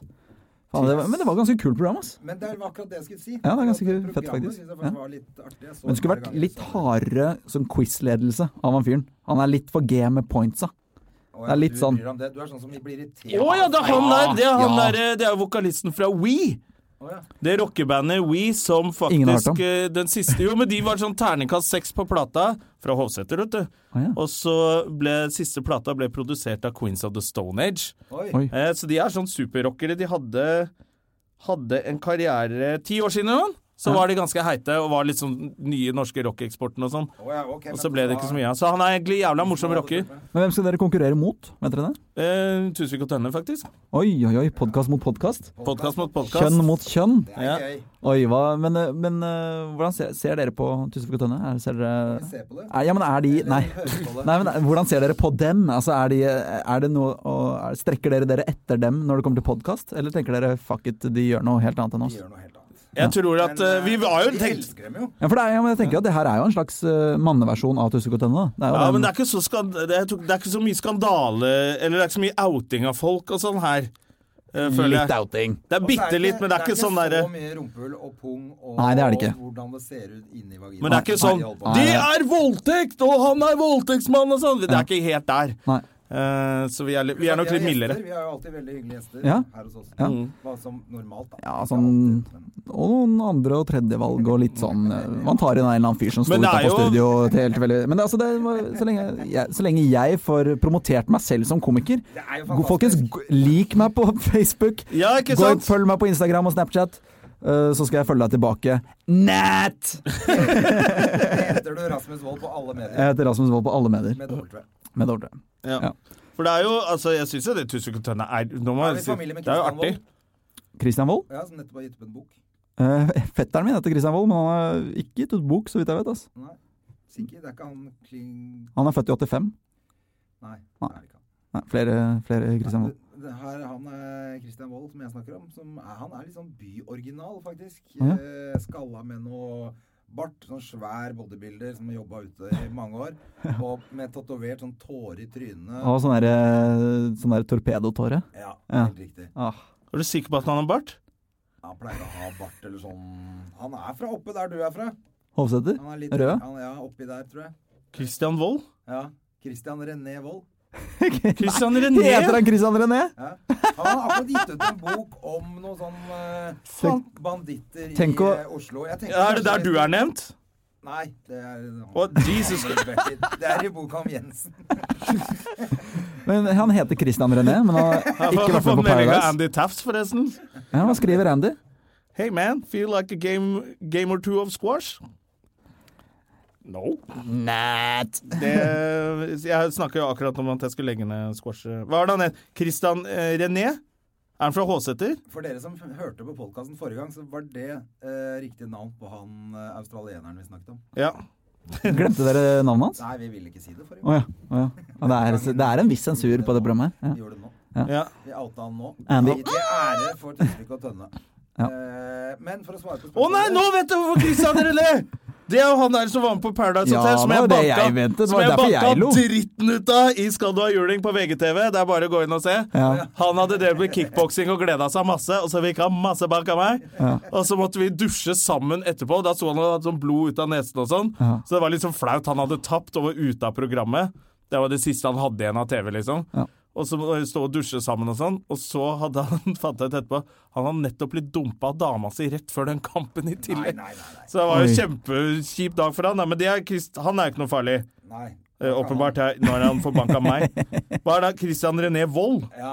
Faen, det var, men det var et ganske kult program, ass. Men det var akkurat det jeg skulle si. Ja, det er ganske At fett, programmet faktisk. synes jeg Ja. var litt artig. Jeg så Men det skulle det vært flere litt ganger, så- hardere som quizledelse av han fyren. Han er litt for game med pointsa. Å, ja, det er litt du sånn. bryr deg om det. Du er sånn som blir irritert. Å ja, det er han der! Det er, han Ja. der, eh, det er vokalisten fra We. Å, ja. Det rockebandet We som Ingen har hørt faktisk om. eh, den siste Jo, men de var sånn terningkast seks på plata fra Hovseter, vet du. Å, ja. Og så ble siste plata ble produsert av Queens of the Stone Age. Oi. Oi. Eh, så de er sånn superrockere. De hadde, hadde en karriere ti år siden eller noe. Så var de ganske heite og var litt sånn nye norske rockeeksporten og sånn. Å, ja, ok, Og men så ble det da- ikke så mye av. Så han er egentlig jævla morsom rocker. Men hvem skal dere konkurrere mot? Vet dere det? Eh, Tusvik og Tønne, faktisk. Oi, oi, oi. Podkast mot podkast. Podkast mot podkast. Kjønn mot kjønn. Det er Ja. gøy. Oi, hva Men, eh, men eh, hvordan ser, ser dere på Tusvik og Tønne? Er, ser dere Vi ser på det. er, Eh, Ja, men er de Nei. Hører på det. Nei, men eh, Hvordan ser dere på dem? Altså, er, de, er det noe, å- er, Strekker dere dere etter dem når det kommer til podkast? Eller tenker dere fuck it, de gjør noe helt annet enn Vi oss? gjør noe helt annet. Jeg tror at eh, Vi var jo Vi tenkt elsker dem jo. Ja, for det er, ja, men jeg tenker at det her er jo en slags eh, manneversjon av Tusvik og Tønne. da. Det er jo ja, den- men det er, ikke så skand- det, er, det er ikke så mye skandale Eller det er ikke så mye outing av folk og sånn her, eh, føler jeg. outing. Det er Og så det bitte litt, ikke- men det er ikke sånn derre så mye rumpehull og pung og Nei, det er det ikke. hvordan det ser ut inni vaginaen. Men det er ikke sånn Nei, De er voldtekt, og han er voldtektsmann og sånn! Det er ikke helt der. Nei. Eh, så vi er, litt- vi er nok Vi har litt mildere. Mm. Gjester. Vi har jo alltid veldig hyggelige gjester Ja. her hos oss. Ja. Hva som normalt, da. Ja, Ikke sånn- alltid, men- Og noen andre- og tredjevalg og litt sånn eh, Man tar inn en eller annen fyr som sto Men det er utenfor jo- studio til helt veldig Men det, er altså, det, var- så, lenge jeg, så lenge jeg får promotert meg selv som komiker er jo go- Folkens, go- lik meg på Facebook. Ja, ikke Gå, sant? følg meg på Instagram og Snapchat. eh, så skal jeg følge deg tilbake. Nat! Heter du Rasmus Wold på alle medier? Jeg heter Rasmus Wold på alle medier. Med W. Med dobbelt V. Ja. Ja. For det er jo altså, Jeg syns jo det Tusvik og Tønne er nå må jeg Er vi si, familie med Det er jo Christian artig. Wold? Christian Wold. Ja, som nettopp har gitt opp en bok. Eh, fetteren min heter Christian Wold, men han har ikke gitt ut bok, så vidt jeg vet. ass. Nei. Sikker, det er ikke han Kling... Han er født i 85. Nei. det Nei. er ikke han. Nei, flere, flere Christian Wold. Det her, han er Christian Wold, som jeg snakker om. Som er, han er litt sånn byoriginal, faktisk. Ja. Eh, skalla med noe bart. Sånn svær bodybuilder som har jobba ute i mange år. Og med tatovert sånn tåre i trynet. Og sånn derre sånn der torpedotåre. Ja, Ja. helt riktig. Ah. Er du sikker på at han har bart? Han pleier å ha bart eller sånn Han er fra oppe der du er fra. Hovseter? Han er litt Røde? Han, ja, oppi der, tror jeg. Christian Wold? Ja. Christian René Wold. Christian René! Heter han Christian René? Ja. Han har akkurat gitt ut en bok om noen sånn eh, Tenk- banditter tenk i å- eh, Oslo. Jeg tenker Ja, er det der kanskje- du er nevnt? Nei, det er eh, Å, Jesus Det er i boka om Jensen. Men han heter Christian René, men han har ikke vært med på melding av Paradise. Andy Tafts, forresten. Ja, hva skriver Andy? Hey man, feel like a game, game or two of squash? No. Nat. Det, jeg snakker jo akkurat om at jeg skulle legge ned squash. Hva er det han het? Christian eh, René? Er han fra Håseter? For dere som hørte på podkasten forrige gang, så var det eh, riktig navn på han eh, australieneren vi snakket om. Ja. Glemte dere navnet hans? Nei, vi ville ikke si det forrige Å gang. ja. å ja. Ja, Det, er, det er en viss sensur på det programmet her. Vi gjorde det nå. ja. Vi outa han nå. Andy. Til ære for Tusvik og Tønne. Ja. Eh, men for å svare på Å nei, nå vet jeg hvorfor Christian René! Det er jo han der som var med på Paradise Hotel, Ja, som det jeg var det banka, jeg ventet. Det var som jeg derfor jeg banka lo. dritten ut av i Skal du ha juling på VGTV. Det er bare å gå inn og se. Ja. Han hadde drevet med kickboksing og gleda seg masse, og så fikk han masse bank av meg. Og så måtte vi dusje sammen etterpå. Da så han hadde sånn blod ut av nesen og sånn. Ja. Så det var litt sånn flaut. Han hadde tapt og var ute av programmet. Det var det siste han hadde igjen av TV, liksom. Ja. Og så må vi stå og dusje sammen og sånn. Og så hadde han fant jeg ut etterpå Han hadde nettopp blitt dumpa av dama si rett før den kampen i tillegg. Nei, nei, nei. Så det var jo Oi. kjempekjip dag for han. Nei, men det er Christ, han er jo ikke noe farlig. nei. eh, åpenbart er, når han forbanka meg. Hva er det? Christian René Wold? Ja.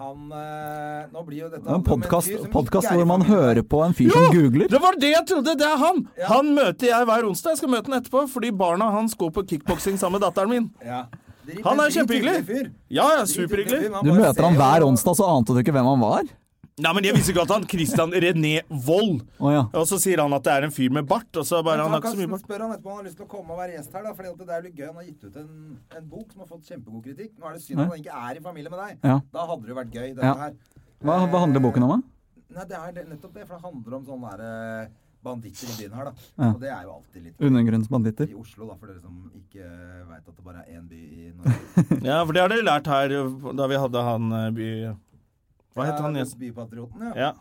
Han eh, Nå blir jo dette Det er en om en podkast fyr som podcast ikke er i hvor man familien. hører på en fyr som Ja, googler. Det var det jeg trodde! Det er han! Ja. Han møter jeg hver onsdag. Jeg skal møte han etterpå, fordi barna hans går på kickboksing sammen med datteren min. Ja. Drit- Han er drit- kjempehyggelig. hyggelig fyr. Ja, ja, Drit- hyggelig fyr, superhyggelig. men han Du bare møter han ser hver jo- onsdag, så ante du ikke hvem han var. Nei, men jeg visste ikke at han Christian René Wold. Å ja. Og så sier han at det er en fyr med bart, og så bare Men han har Han ikke så mye kan bart. spørre han etterpå om han har lyst til å komme og være gjest her, da, for det er jo litt gøy. Han har gitt ut en, en bok som har fått kjempegod kritikk. Nå er det synd at han ikke er i familie med deg. Ja. Da hadde det jo vært gøy, dette Ja. her. Hva, hva handler boken om, da? Nei, det er det- nettopp det, for det handler om sånne der eh, banditter i byen her, da. Ja. Og det er jo alltid litt Undergrunnsbanditter. i Oslo, da, for dere som ikke veit at det bare er én by i Norge. Ja, for det har dere lært her da vi hadde han eh, by... Hva het han Ja, gjesten? Bypatrioten, ja. Ja.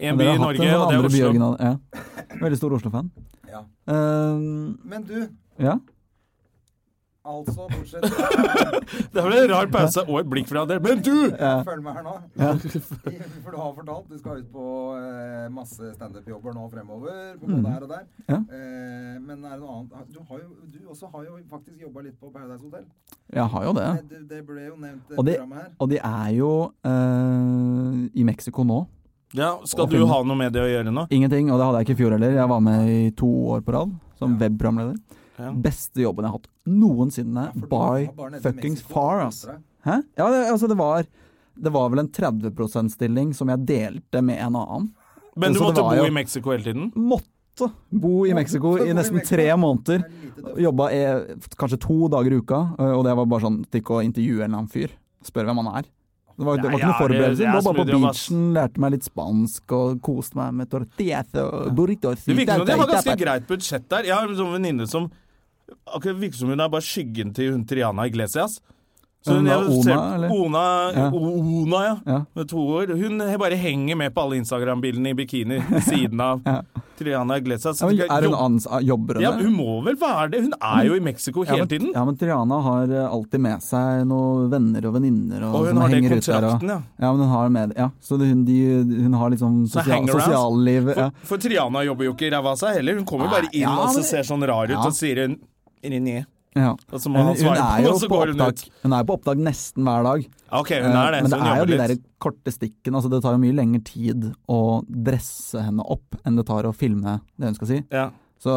En by Dere i har hatt Norge, en sånn og det er andre Oslo. byoriginal- Ja. Veldig stor Oslo-fan. ja. Eh, Men du, ja. altså, bortsett fra Det ble en rar pause og et blikk fra dere. Men du! Følg med her nå. For du har fortalt, du skal ut på eh, masse standup-jobber nå fremover. På både her og der. Mm. Ja. Eh, men er det noe annet Du, har jo, du også har jo faktisk jobba litt på Paradise Hotel. Jeg har jo det. Eh, Det, det ble jo nevnt eh, Og det- programmet her. Og de er jo eh, i Mexico nå. Ja, skal du ha noe med det å gjøre nå? Ingenting, og det hadde jeg ikke i fjor heller. Jeg var med i to år på rad som webprogramleder. Ja. Beste jobben jeg har hatt noensinne. Ja, for du by var bare nede i fuckings Mexico, far, og ass. koste deg. Hæ? Ja, det, altså, det var Det var vel en 30 %-stilling som jeg delte med en annen. Men du Så det måtte var bo i jo- Mexico hele tiden? Måtte bo i Mexico bo i i nesten Mexico. tre måneder. Det er lite døft. Jobba eh, kanskje to dager i uka, eh, og det var bare sånn Stikk og intervjue en eller annen fyr. Spørre hvem han er. Det var, det var Nei, ikke noe ja, det- forberedelse. det er Jeg var bare på smoothie og mass. beachen, lærte meg litt spansk og koste meg med tortillas og burritos. Det virker som de har ganske greit budsjett der. Jeg har en sånn venninne som akkurat virker som hun er bare skyggen til hun Triana Iglesias. Så hun, Hun er jeg ser- Ona, eller? Ona, Ja. O- Ona, ja. Ja. Med to ord. Hun he- bare henger med på alle Instagram-bildene i bikini ved siden av Triana Iglesias. Ja, Så men tenker er jeg, hun jo- ans ah, jobber hun ja, der? hun må vel være det? Hun er jo i Mexico Ja, hele men- tiden. Ja, men Triana har eh, alltid med seg noen venner og venninner og, Og hun som har det i henger ut der. kontrakten, og, ja. ja, men hun har med Ja, så det, hun, de, hun har liksom Så sosial, hangarounds. sosiallivet ja. For, for Triana jobber jo ikke i ræva av seg heller. Hun kommer jo Nei, bare inn ja, og så men- ser sånn rar ut Ja. Eh, og sier hun René. ja. Og så må han hun, hun svare på er det, jo og så på går hun opptak. ut. Hun er på opptak nesten hver dag. Eh, OK, hun er det. Men Så det hun er jo jobber de litt. der korte stikkene. Altså, det tar jo mye lengre tid å dresse henne opp enn det tar å filme det hun skal si. Ja. Så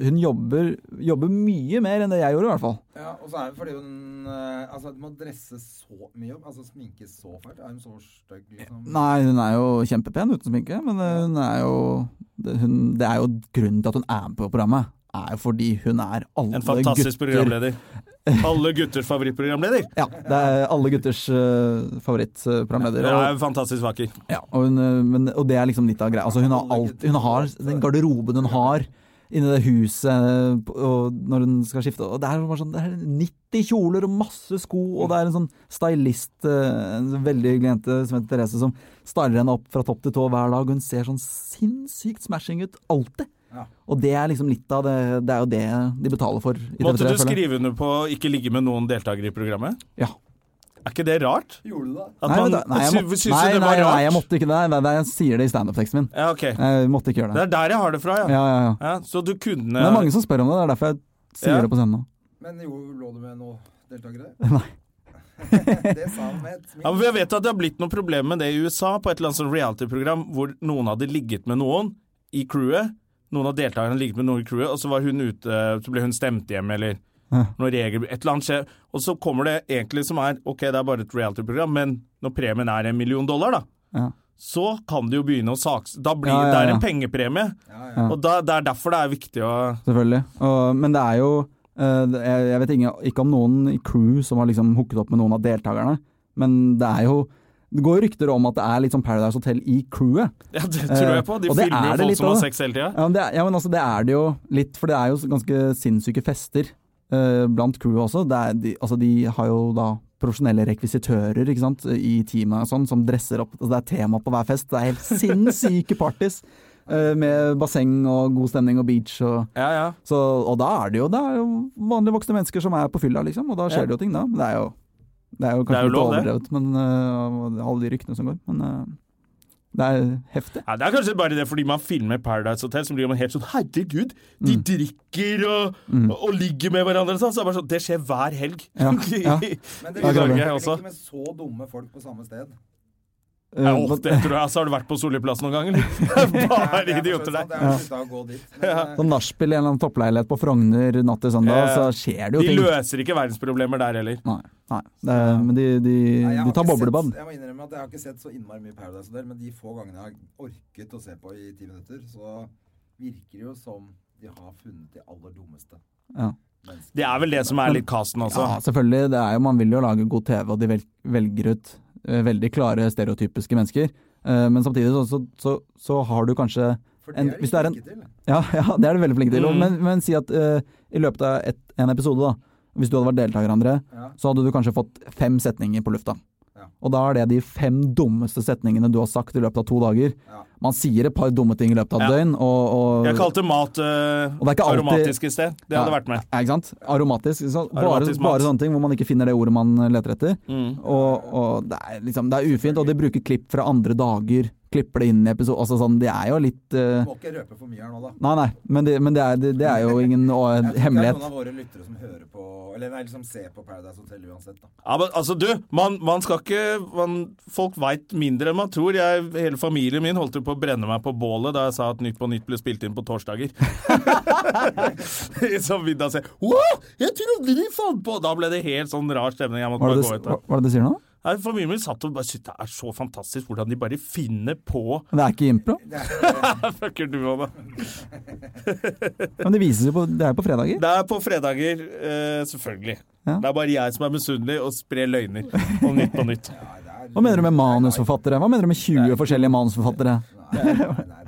hun jobber, jobber mye mer enn det jeg gjorde, i hvert fall. Ja, og så er det fordi hun eh, Altså, du må dresse så mye opp. Altså sminke så fælt. Er hun så stygg, liksom? Nei, hun er jo kjempepen uten sminke, men eh, hun er jo det, hun, det er jo grunnen til at hun er med på programmet. Er jo fordi hun er alle En fantastisk gutter programleder. Alle gutters favorittprogramleder. Ja, det er alle gutters eh, favorittprogramleder. Hun er Og, fantastisk vakker. ja, og, hun, eh, men, og det er liksom litt av greia. Altså, hun, har Alle alt, gutter. hun har den garderoben hun har inni det huset eh, på- og når hun skal skifte. Og det er bare sånn det er 90 kjoler og masse sko, og det er en sånn stylist, eh, en veldig hyggelig jente som heter Therese, som styler henne opp fra topp til tå hver dag. Hun ser sånn sinnssykt smashing ut alltid. Ja. Og det er liksom litt av det Det er jo det de betaler for i Måtte TV3, du føler jeg. skrive under på å ikke ligge med noen deltakere i programmet? Ja. Er ikke det rart? Gjorde du det? At Nei, man men da- nei, jeg sy- måtte- syns nei, du det nei, var rart? nei, jeg måtte ikke det. Nei, nei, jeg sier det i standup-teksten min. Ja, ok. Jeg måtte ikke gjøre Det er det. der jeg har det fra, ja. Ja, ja, ja. ja så du kunne Men det er mange som spør om det, det er derfor jeg sier Ja. det på scenen nå. Men jo, lå du med noen deltakere? Nei. det sa han med et smil. Ja, men jeg vet at det har blitt noen problemer med det i USA, på et eller annet sånn reality-program hvor noen hadde ligget med noen i crewet. Noen av deltakerne hadde ligget med noen i crewet, og så, var hun ute, så ble hun stemt hjem, eller Ja. noen regler Et eller annet skjer. Og så kommer det egentlig som er Ok, det er bare et reality-program, men når premien er en million dollar, da, Ja. så kan det jo begynne å saks... Da blir Ja, ja, det er ja. en pengepremie. Ja, ja. Ja. Og da, det er derfor det er viktig å Selvfølgelig. Og, men det er jo eh, det- Jeg, jeg vet ikke, ikke om noen i crew som har liksom hooket opp med noen av deltakerne, men det er jo Det går jo rykter om at det er litt sånn Paradise Hotel i crewet. Ja, det tror jeg på. De og det filmer er jo det folk litt som av har det. sex hele tida. Ja, men det, er- ja, men altså, det er det jo litt, for det er jo så ganske sinnssyke fester eh, blant crewet også. Det er, de, altså, de har jo da profesjonelle rekvisitører ikke sant, i teamet og sånn, som dresser opp. Altså, det er tema på hver fest. Det er helt sinnssyke parties eh, med basseng og god stemning og beach og Ja, ja. Så, og da er det jo, det er jo vanlige voksne mennesker som er på fylla, liksom, og da skjer Ja. det jo ting, da. Men det er jo, det er jo Det er kanskje jo litt lov, det. overdrevet, men øh, av alle de ryktene som går. Men øh, det er heftig. Ja, det er kanskje bare det fordi man filmer Paradise Hotel, så blir man helt sånn Herregud, Mm. de drikker og, og ligger med hverandre og sånn. Så er det bare sånn Det skjer hver helg. Ja, ja. Men I Ja, dere klart det. Norge ligger også. ikke med så dumme folk på samme sted. Ja, Øh, og det tror jeg. Altså, har du vært på Solli plass noen gang, eller? Ja, det Bare er for så idioter vidt sant, der. Jeg har sluttet å gå dit. Men, eh, Sånn nachspiel i en eller annen toppleilighet på Frogner natt til søndag, Ja. så skjer det jo De ting. løser ikke verdensproblemer der heller. Nei, nei. Det, er- men de, de, nei, jeg har de tar ikke sett- boblebad. Jeg må innrømme at jeg har ikke sett så innmari mye Paradise Hotel, men de få gangene jeg har orket å se på i ti minutter, så virker det jo som de har funnet de aller dummeste Ja. menneskene. Det er vel det som er litt casten, altså. ja, selvfølgelig. Det er jo, man vil jo lage god TV, og de vel, velger ut øh, veldig klare stereotypiske mennesker. Øh, men samtidig så, så, så, så har du kanskje For det en- er de hvis det er en- flinke til. Ja, ja, det er du veldig flink til. Mm. Men, men si at eh, i løpet av et, en episode, da, hvis du hadde vært deltaker, André, Ja. så hadde du kanskje fått fem setninger på lufta. Ja. Og da er det de fem dummeste setningene du har sagt i løpet av to dager. Ja. Man sier et par dumme ting i løpet av et Ja. døgn, og, og Jeg kalte mat eh, Og det er ikke alltid- aromatisk i sted. Det hadde Ja, vært med. ja, ikke sant? Aromatisk. Så bare, Aromatisk mat. bare sånne ting hvor man ikke finner det ordet man eh, leter etter. Mm. Og, og det, er liksom, det er ufint, og de bruker klipp fra andre dager. Klipper det inn i episode... Altså sånn, det er jo litt eh, Må ikke røpe for mye her nå, da. Nei, nei, men det, men det, er, det, det er jo ingen å, Jeg tror ikke det er sånn hemmelighet. noen av våre lyttere som hører på Eller nei, liksom ser på Paradise Hotel uansett, da. Ja, men, altså, du, man, man skal ikke man, Folk veit mindre enn man tror. Jeg, hele familien min holdt jo på å brenne meg på bålet da jeg sa at Nytt på Nytt ble spilt inn på torsdager. Som vi da ser Wow! Jeg trodde de fant på Da ble det helt sånn rar stemning. Jeg måtte Hva er bare det gå du, ut. da. hva er det du sier nå? Nei, Familien min satt og bare Shit, det er så fantastisk hvordan de bare finner på Det er ikke impro, Fucker du òg, da. men det vises jo på, det er jo på fredager. Det er på fredager, eh, selvfølgelig. Ja. Det er bare jeg som er misunnelig og sprer løgner om Nytt på Nytt. Hva mener du med manusforfattere? Hva mener du med 20 forskjellige manusforfattere? Nei, nei, det er bare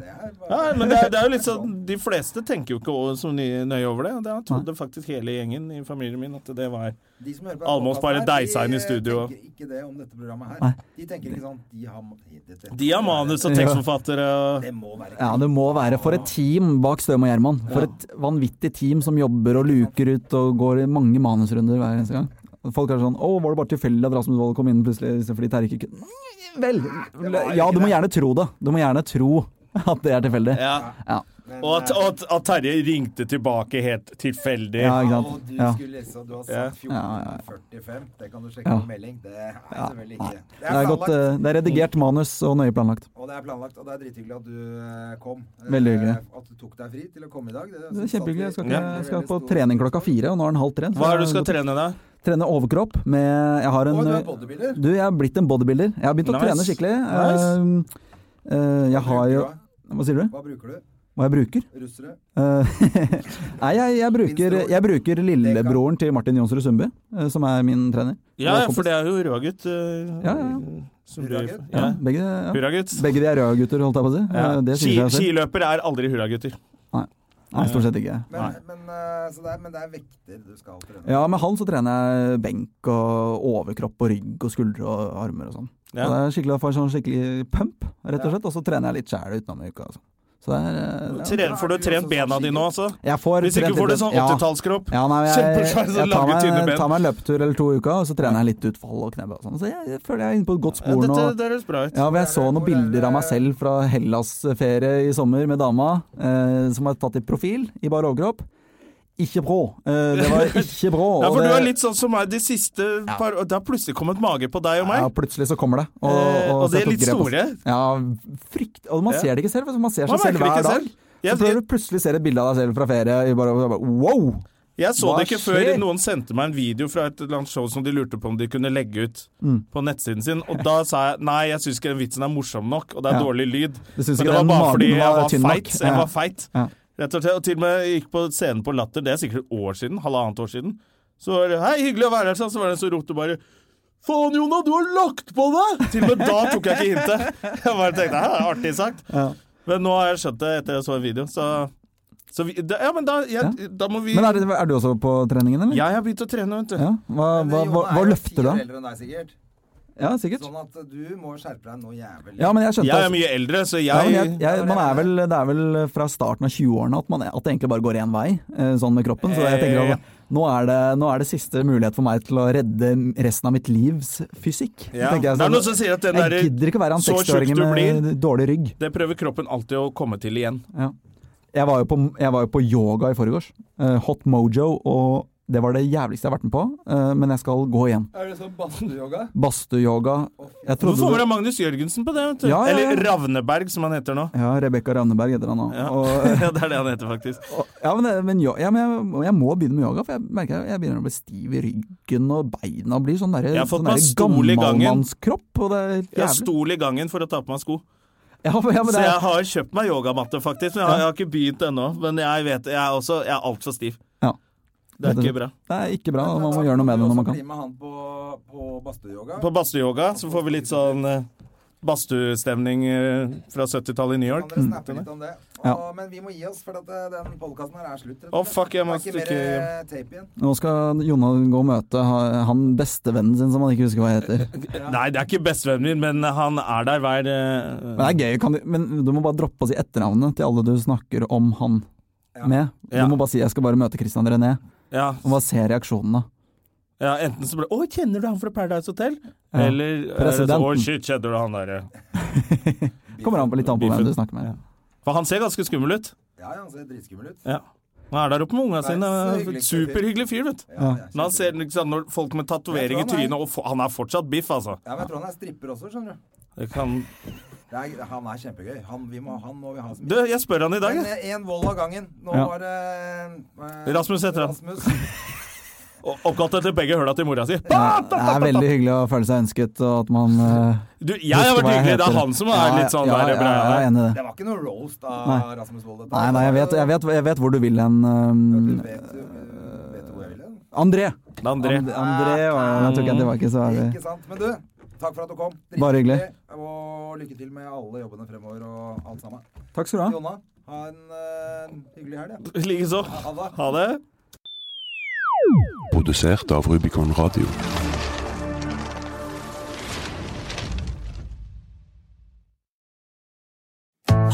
Ja, men det er, det er jo litt sånn, De fleste tenker jo ikke over- så ny- nøye over det. og Det trodde faktisk hele gjengen i familien min at det var De som hører på Almås bare podcasten her, deisa inn i studio og- De tenker ikke det om dette programmet her. Nei. De tenker ikke sånn De har, det, det, De har manus og tekstforfattere og Det må være Ja, det må være for et team bak Støm og Gjerman. For et vanvittig team som jobber og luker ut og går i mange manusrunder hver eneste gang. Folk er sånn 'Å, var det bare tilfeldig at Rasmus Wold kom inn plutselig så fordi Terje ikke kunne Vel, ja, du må gjerne tro det. Du må gjerne tro at det er tilfeldig. ja. Ja. Og at, eh, og at, at Terje ringte tilbake helt tilfeldig. Ja, ikke Og sant. du Ja. skulle lese, og du har Ja. sagt 1445. Det kan du sjekke Ja. på melding. Det er selvfølgelig ikke det. Det er, godt, eh, det er redigert manus og nøye planlagt. og det er planlagt, og det er drithyggelig at du eh, kom. Eh, Veldig hyggelig. At du tok deg fri til å komme i dag. Det er synes kjempehyggelig. Jeg skal, alltid- ikke, veldig, jeg skal veldig på stor- trening klokka fire, og nå er den halv tre. så Hva er det jeg du skal går på- trene, da? Trene overkropp med Jeg har en Å, du er bodybuilder? Du, jeg er blitt en bodybuilder. Jeg har begynt å Nice. trene skikkelig. Nice. Eh, eh, jeg har jo Bruker Hva sier du- du? Hva bruker du? Hva jeg bruker? Russere? Eh, Nei, jeg, jeg bruker, jeg bruker lillebroren til Martin Jonsrud Sundby, eh, som er min trener. Ja, Jeg ja, er for kompis. det er jo Røagutt. eh, Ja, ja. som blir- Hurragutt? Ja. Ja, begge, ja. Hurragutt. begge de er rødgutter, holdt jeg på å si. Eh, Ja. Det sier Ski- seg selv. Skiløper er aldri hurragutter. Nei, stort sett ikke. Men, Nei. men, eh, så det er, men det er vekter du skal trene? Ja, med han så trener jeg benk og overkropp og rygg og skuldre og armer og sånn. Ja. Og det er skikkelig, jeg får sånn skikkelig pump, rett og slett. Og så trener jeg litt sjæl utenom i uka. Altså. Så det er eh, Tre- Får du trent bena dine nå, altså? Jeg får Hvis ikke trent får du litt- sånn ja. 80-tallskropp. Ja, nei, jeg, jeg, Kjempesvær, sånn tar, lange, tynne meg, ben. tar meg en løpetur eller to i uka, og så trener jeg litt utfall og knebøy og sånn. Så jeg, jeg føler jeg er inne på et godt Ja, spor nå. dette det høres bra ut. Ja, men jeg så noen bilder av meg selv fra Hellas-ferie i sommer med dama, eh, som var tatt i profil i bar overkropp. Ikke brå. Eh, det var ikke brå. Ja, og for det, du er litt sånn som meg de siste par og Det har plutselig kommet mage på deg og meg. ja, plutselig så kommer det. Og, Eh, og så de er jeg tok litt grep, store. altså. Ja, frykt. Og man Ja. ser det ikke selv, for man ser Man seg merker selv det hver ikke dag. selv. Jeg- så tror jeg du plutselig ser et bilde av deg selv fra ferie i bar overkropp, og bare wow! Jeg så Hva det ikke før skjer? noen sendte meg en video fra et eller annet show som de lurte på om de kunne legge ut Mm. på nettsiden sin, og da sa jeg nei, jeg syns ikke den vitsen er morsom nok, og det er Ja. dårlig lyd. Du Men synes ikke det var den bare magen fordi jeg var var tynn nok? feit. Jeg Ja. var feit. Ja. Rett og slett. Og til og med jeg gikk på scenen på Latter, det er sikkert et år siden, halvannet år siden. Så var det 'hei, hyggelig å være her', sånn. så var det en som ropte bare 'faen, Jona, du har lagt på deg'! Til og med da tok jeg ikke hintet. Jeg bare tenkte 'hæ, artig sagt'. Ja. Men nå har jeg skjønt det etter jeg så en video, så, så vi, da, Ja, men da, jeg, da må vi Men er, er du også på treningen, eller? jeg har begynt å trene, vet du. Ja. Hva, hva, hva, hva Jeg er jo fire løfter du? da? eldre enn deg, sikkert. Ja, sikkert. Sånn at du må skjerpe deg nå jævlig. Ja, men jeg skjønte Jeg er mye eldre, så jeg, Ja, men jeg, jeg, jeg, man er vel, det er vel fra starten av 20-årene at, man- at det egentlig bare går én vei, eh, sånn med kroppen. Så jeg Eh. tenker at nå er, det, nå er det siste mulighet for meg til å redde resten av mitt livs fysikk. Så Ja. tenker jeg Det er sånn, noen som sier at den der- Jeg gidder ikke være han så tjukk 60-åringen du med dårlig rygg. Det prøver kroppen alltid å komme til igjen. Ja. Jeg, var jo på, jeg var jo på yoga i forgårs. Eh, Hot Mojo, og det var det jævligste jeg har vært med på. eh, men jeg skal gå igjen. Er det sånn badstueyoga? Badstueyoga. Jeg Du trodde får med det- deg Magnus Jørgensen på det, vet du. Ja, ja, ja. Eller Ravneberg, som han heter nå. Ja, Rebekka Ravneberg heter han nå. Ja. Og, ja, det er det han heter, faktisk. Og- Ja, men, det- men, jo- ja, men jeg, jeg må begynne med yoga, for jeg merker jeg, jeg begynner å bli stiv i ryggen, og beina blir sånn derre Jeg har fått sånn meg derre stol i gangen. gammalmannskropp, og det er helt Jeg jævlig. stol i gangen for å ta på meg sko. Ja, men, ja, men Så det jeg er, har kjøpt meg yogamatte, faktisk. Men jeg har, jeg har ikke begynt ennå. Men jeg vet Jeg er også Jeg er altfor stiv. Ja. Det er ikke bra. det er ikke bra, og man må gjøre noe med det når man Bli kan. med han på, på badstueyoga. På badstueyoga så får vi litt sånn eh, badstuestemning eh, fra 70-tallet i New Kan York. dere snappe litt om det? Og, Ja. Men vi må gi oss, for at eh, den podkasten her er slutt. rett og Å, slett. fuck, jeg må Det er ikke stikke mer hjem. eh, tape igjen. Nå skal Jonna gå og møte ha- han bestevennen sin, som han ikke husker hva heter. Nei, det er ikke bestevennen min, men han er der hver eh, Men det er gøy, kan du, men du må bare droppe å si etternavnet til alle du snakker om han med. Du Ja. må bare si 'jeg skal bare møte Christian René', ja, og bare se reaksjonene. Ja, enten så ble Å, kjenner du han fra Paradise Hotel? Ja. Eller er det så, Presidenten. Å, shit, kjenner du han derre Kommer an på litt an på hvem du snakker med. For han ser ganske skummel ut. Ja, ja, han ser dritskummel ut. Ja. Han er der oppe med unga Nei, sine. så hyggelig. Superhyggelig fyr, vet du. Ja, det er Men han kjempebra. ser ikke sant, når folk med tatovering i Jeg tror han er- trynet og fo- Han er fortsatt biff, altså. Ja, men jeg tror han er stripper også, skjønner du. Det kan Det er, han er kjempegøy. Han, vi må, han må vi ha som Du, jeg spør han i dag, Men jeg. eh, en vold av gangen. Nå Ja. var det eh, Rasmus heter han. Rasmus. Og Oppkalt etter begge høla til mora si. Det er veldig hyggelig å føle seg ønsket, og at man eh, Du, jeg har Husker vært hva jeg hyggelig. Det heter. er han som er litt sånn ja, der ja, ja, jeg er breia. enig i det. Det var ikke noe roast av Nei. Rasmus Wold. dette. Nei, nei, jeg vet, jeg vet, jeg vet hvor du vil hen. Du Um, vet, du, vet du hvor jeg vil hen? André! Det er André. And- André var jeg tok jeg tilbake, så er Ikke Eh, det sant. Men du, takk for at du kom. Drithyggelig. Bare hyggelig. Og lykke til med alle jobbene fremover og alt sammen. Takk skal du ha. Jonna, ha en eh, hyggelig helg. ja. Likeså. Ha det. Ha det. Produsert av Rubicon Radio.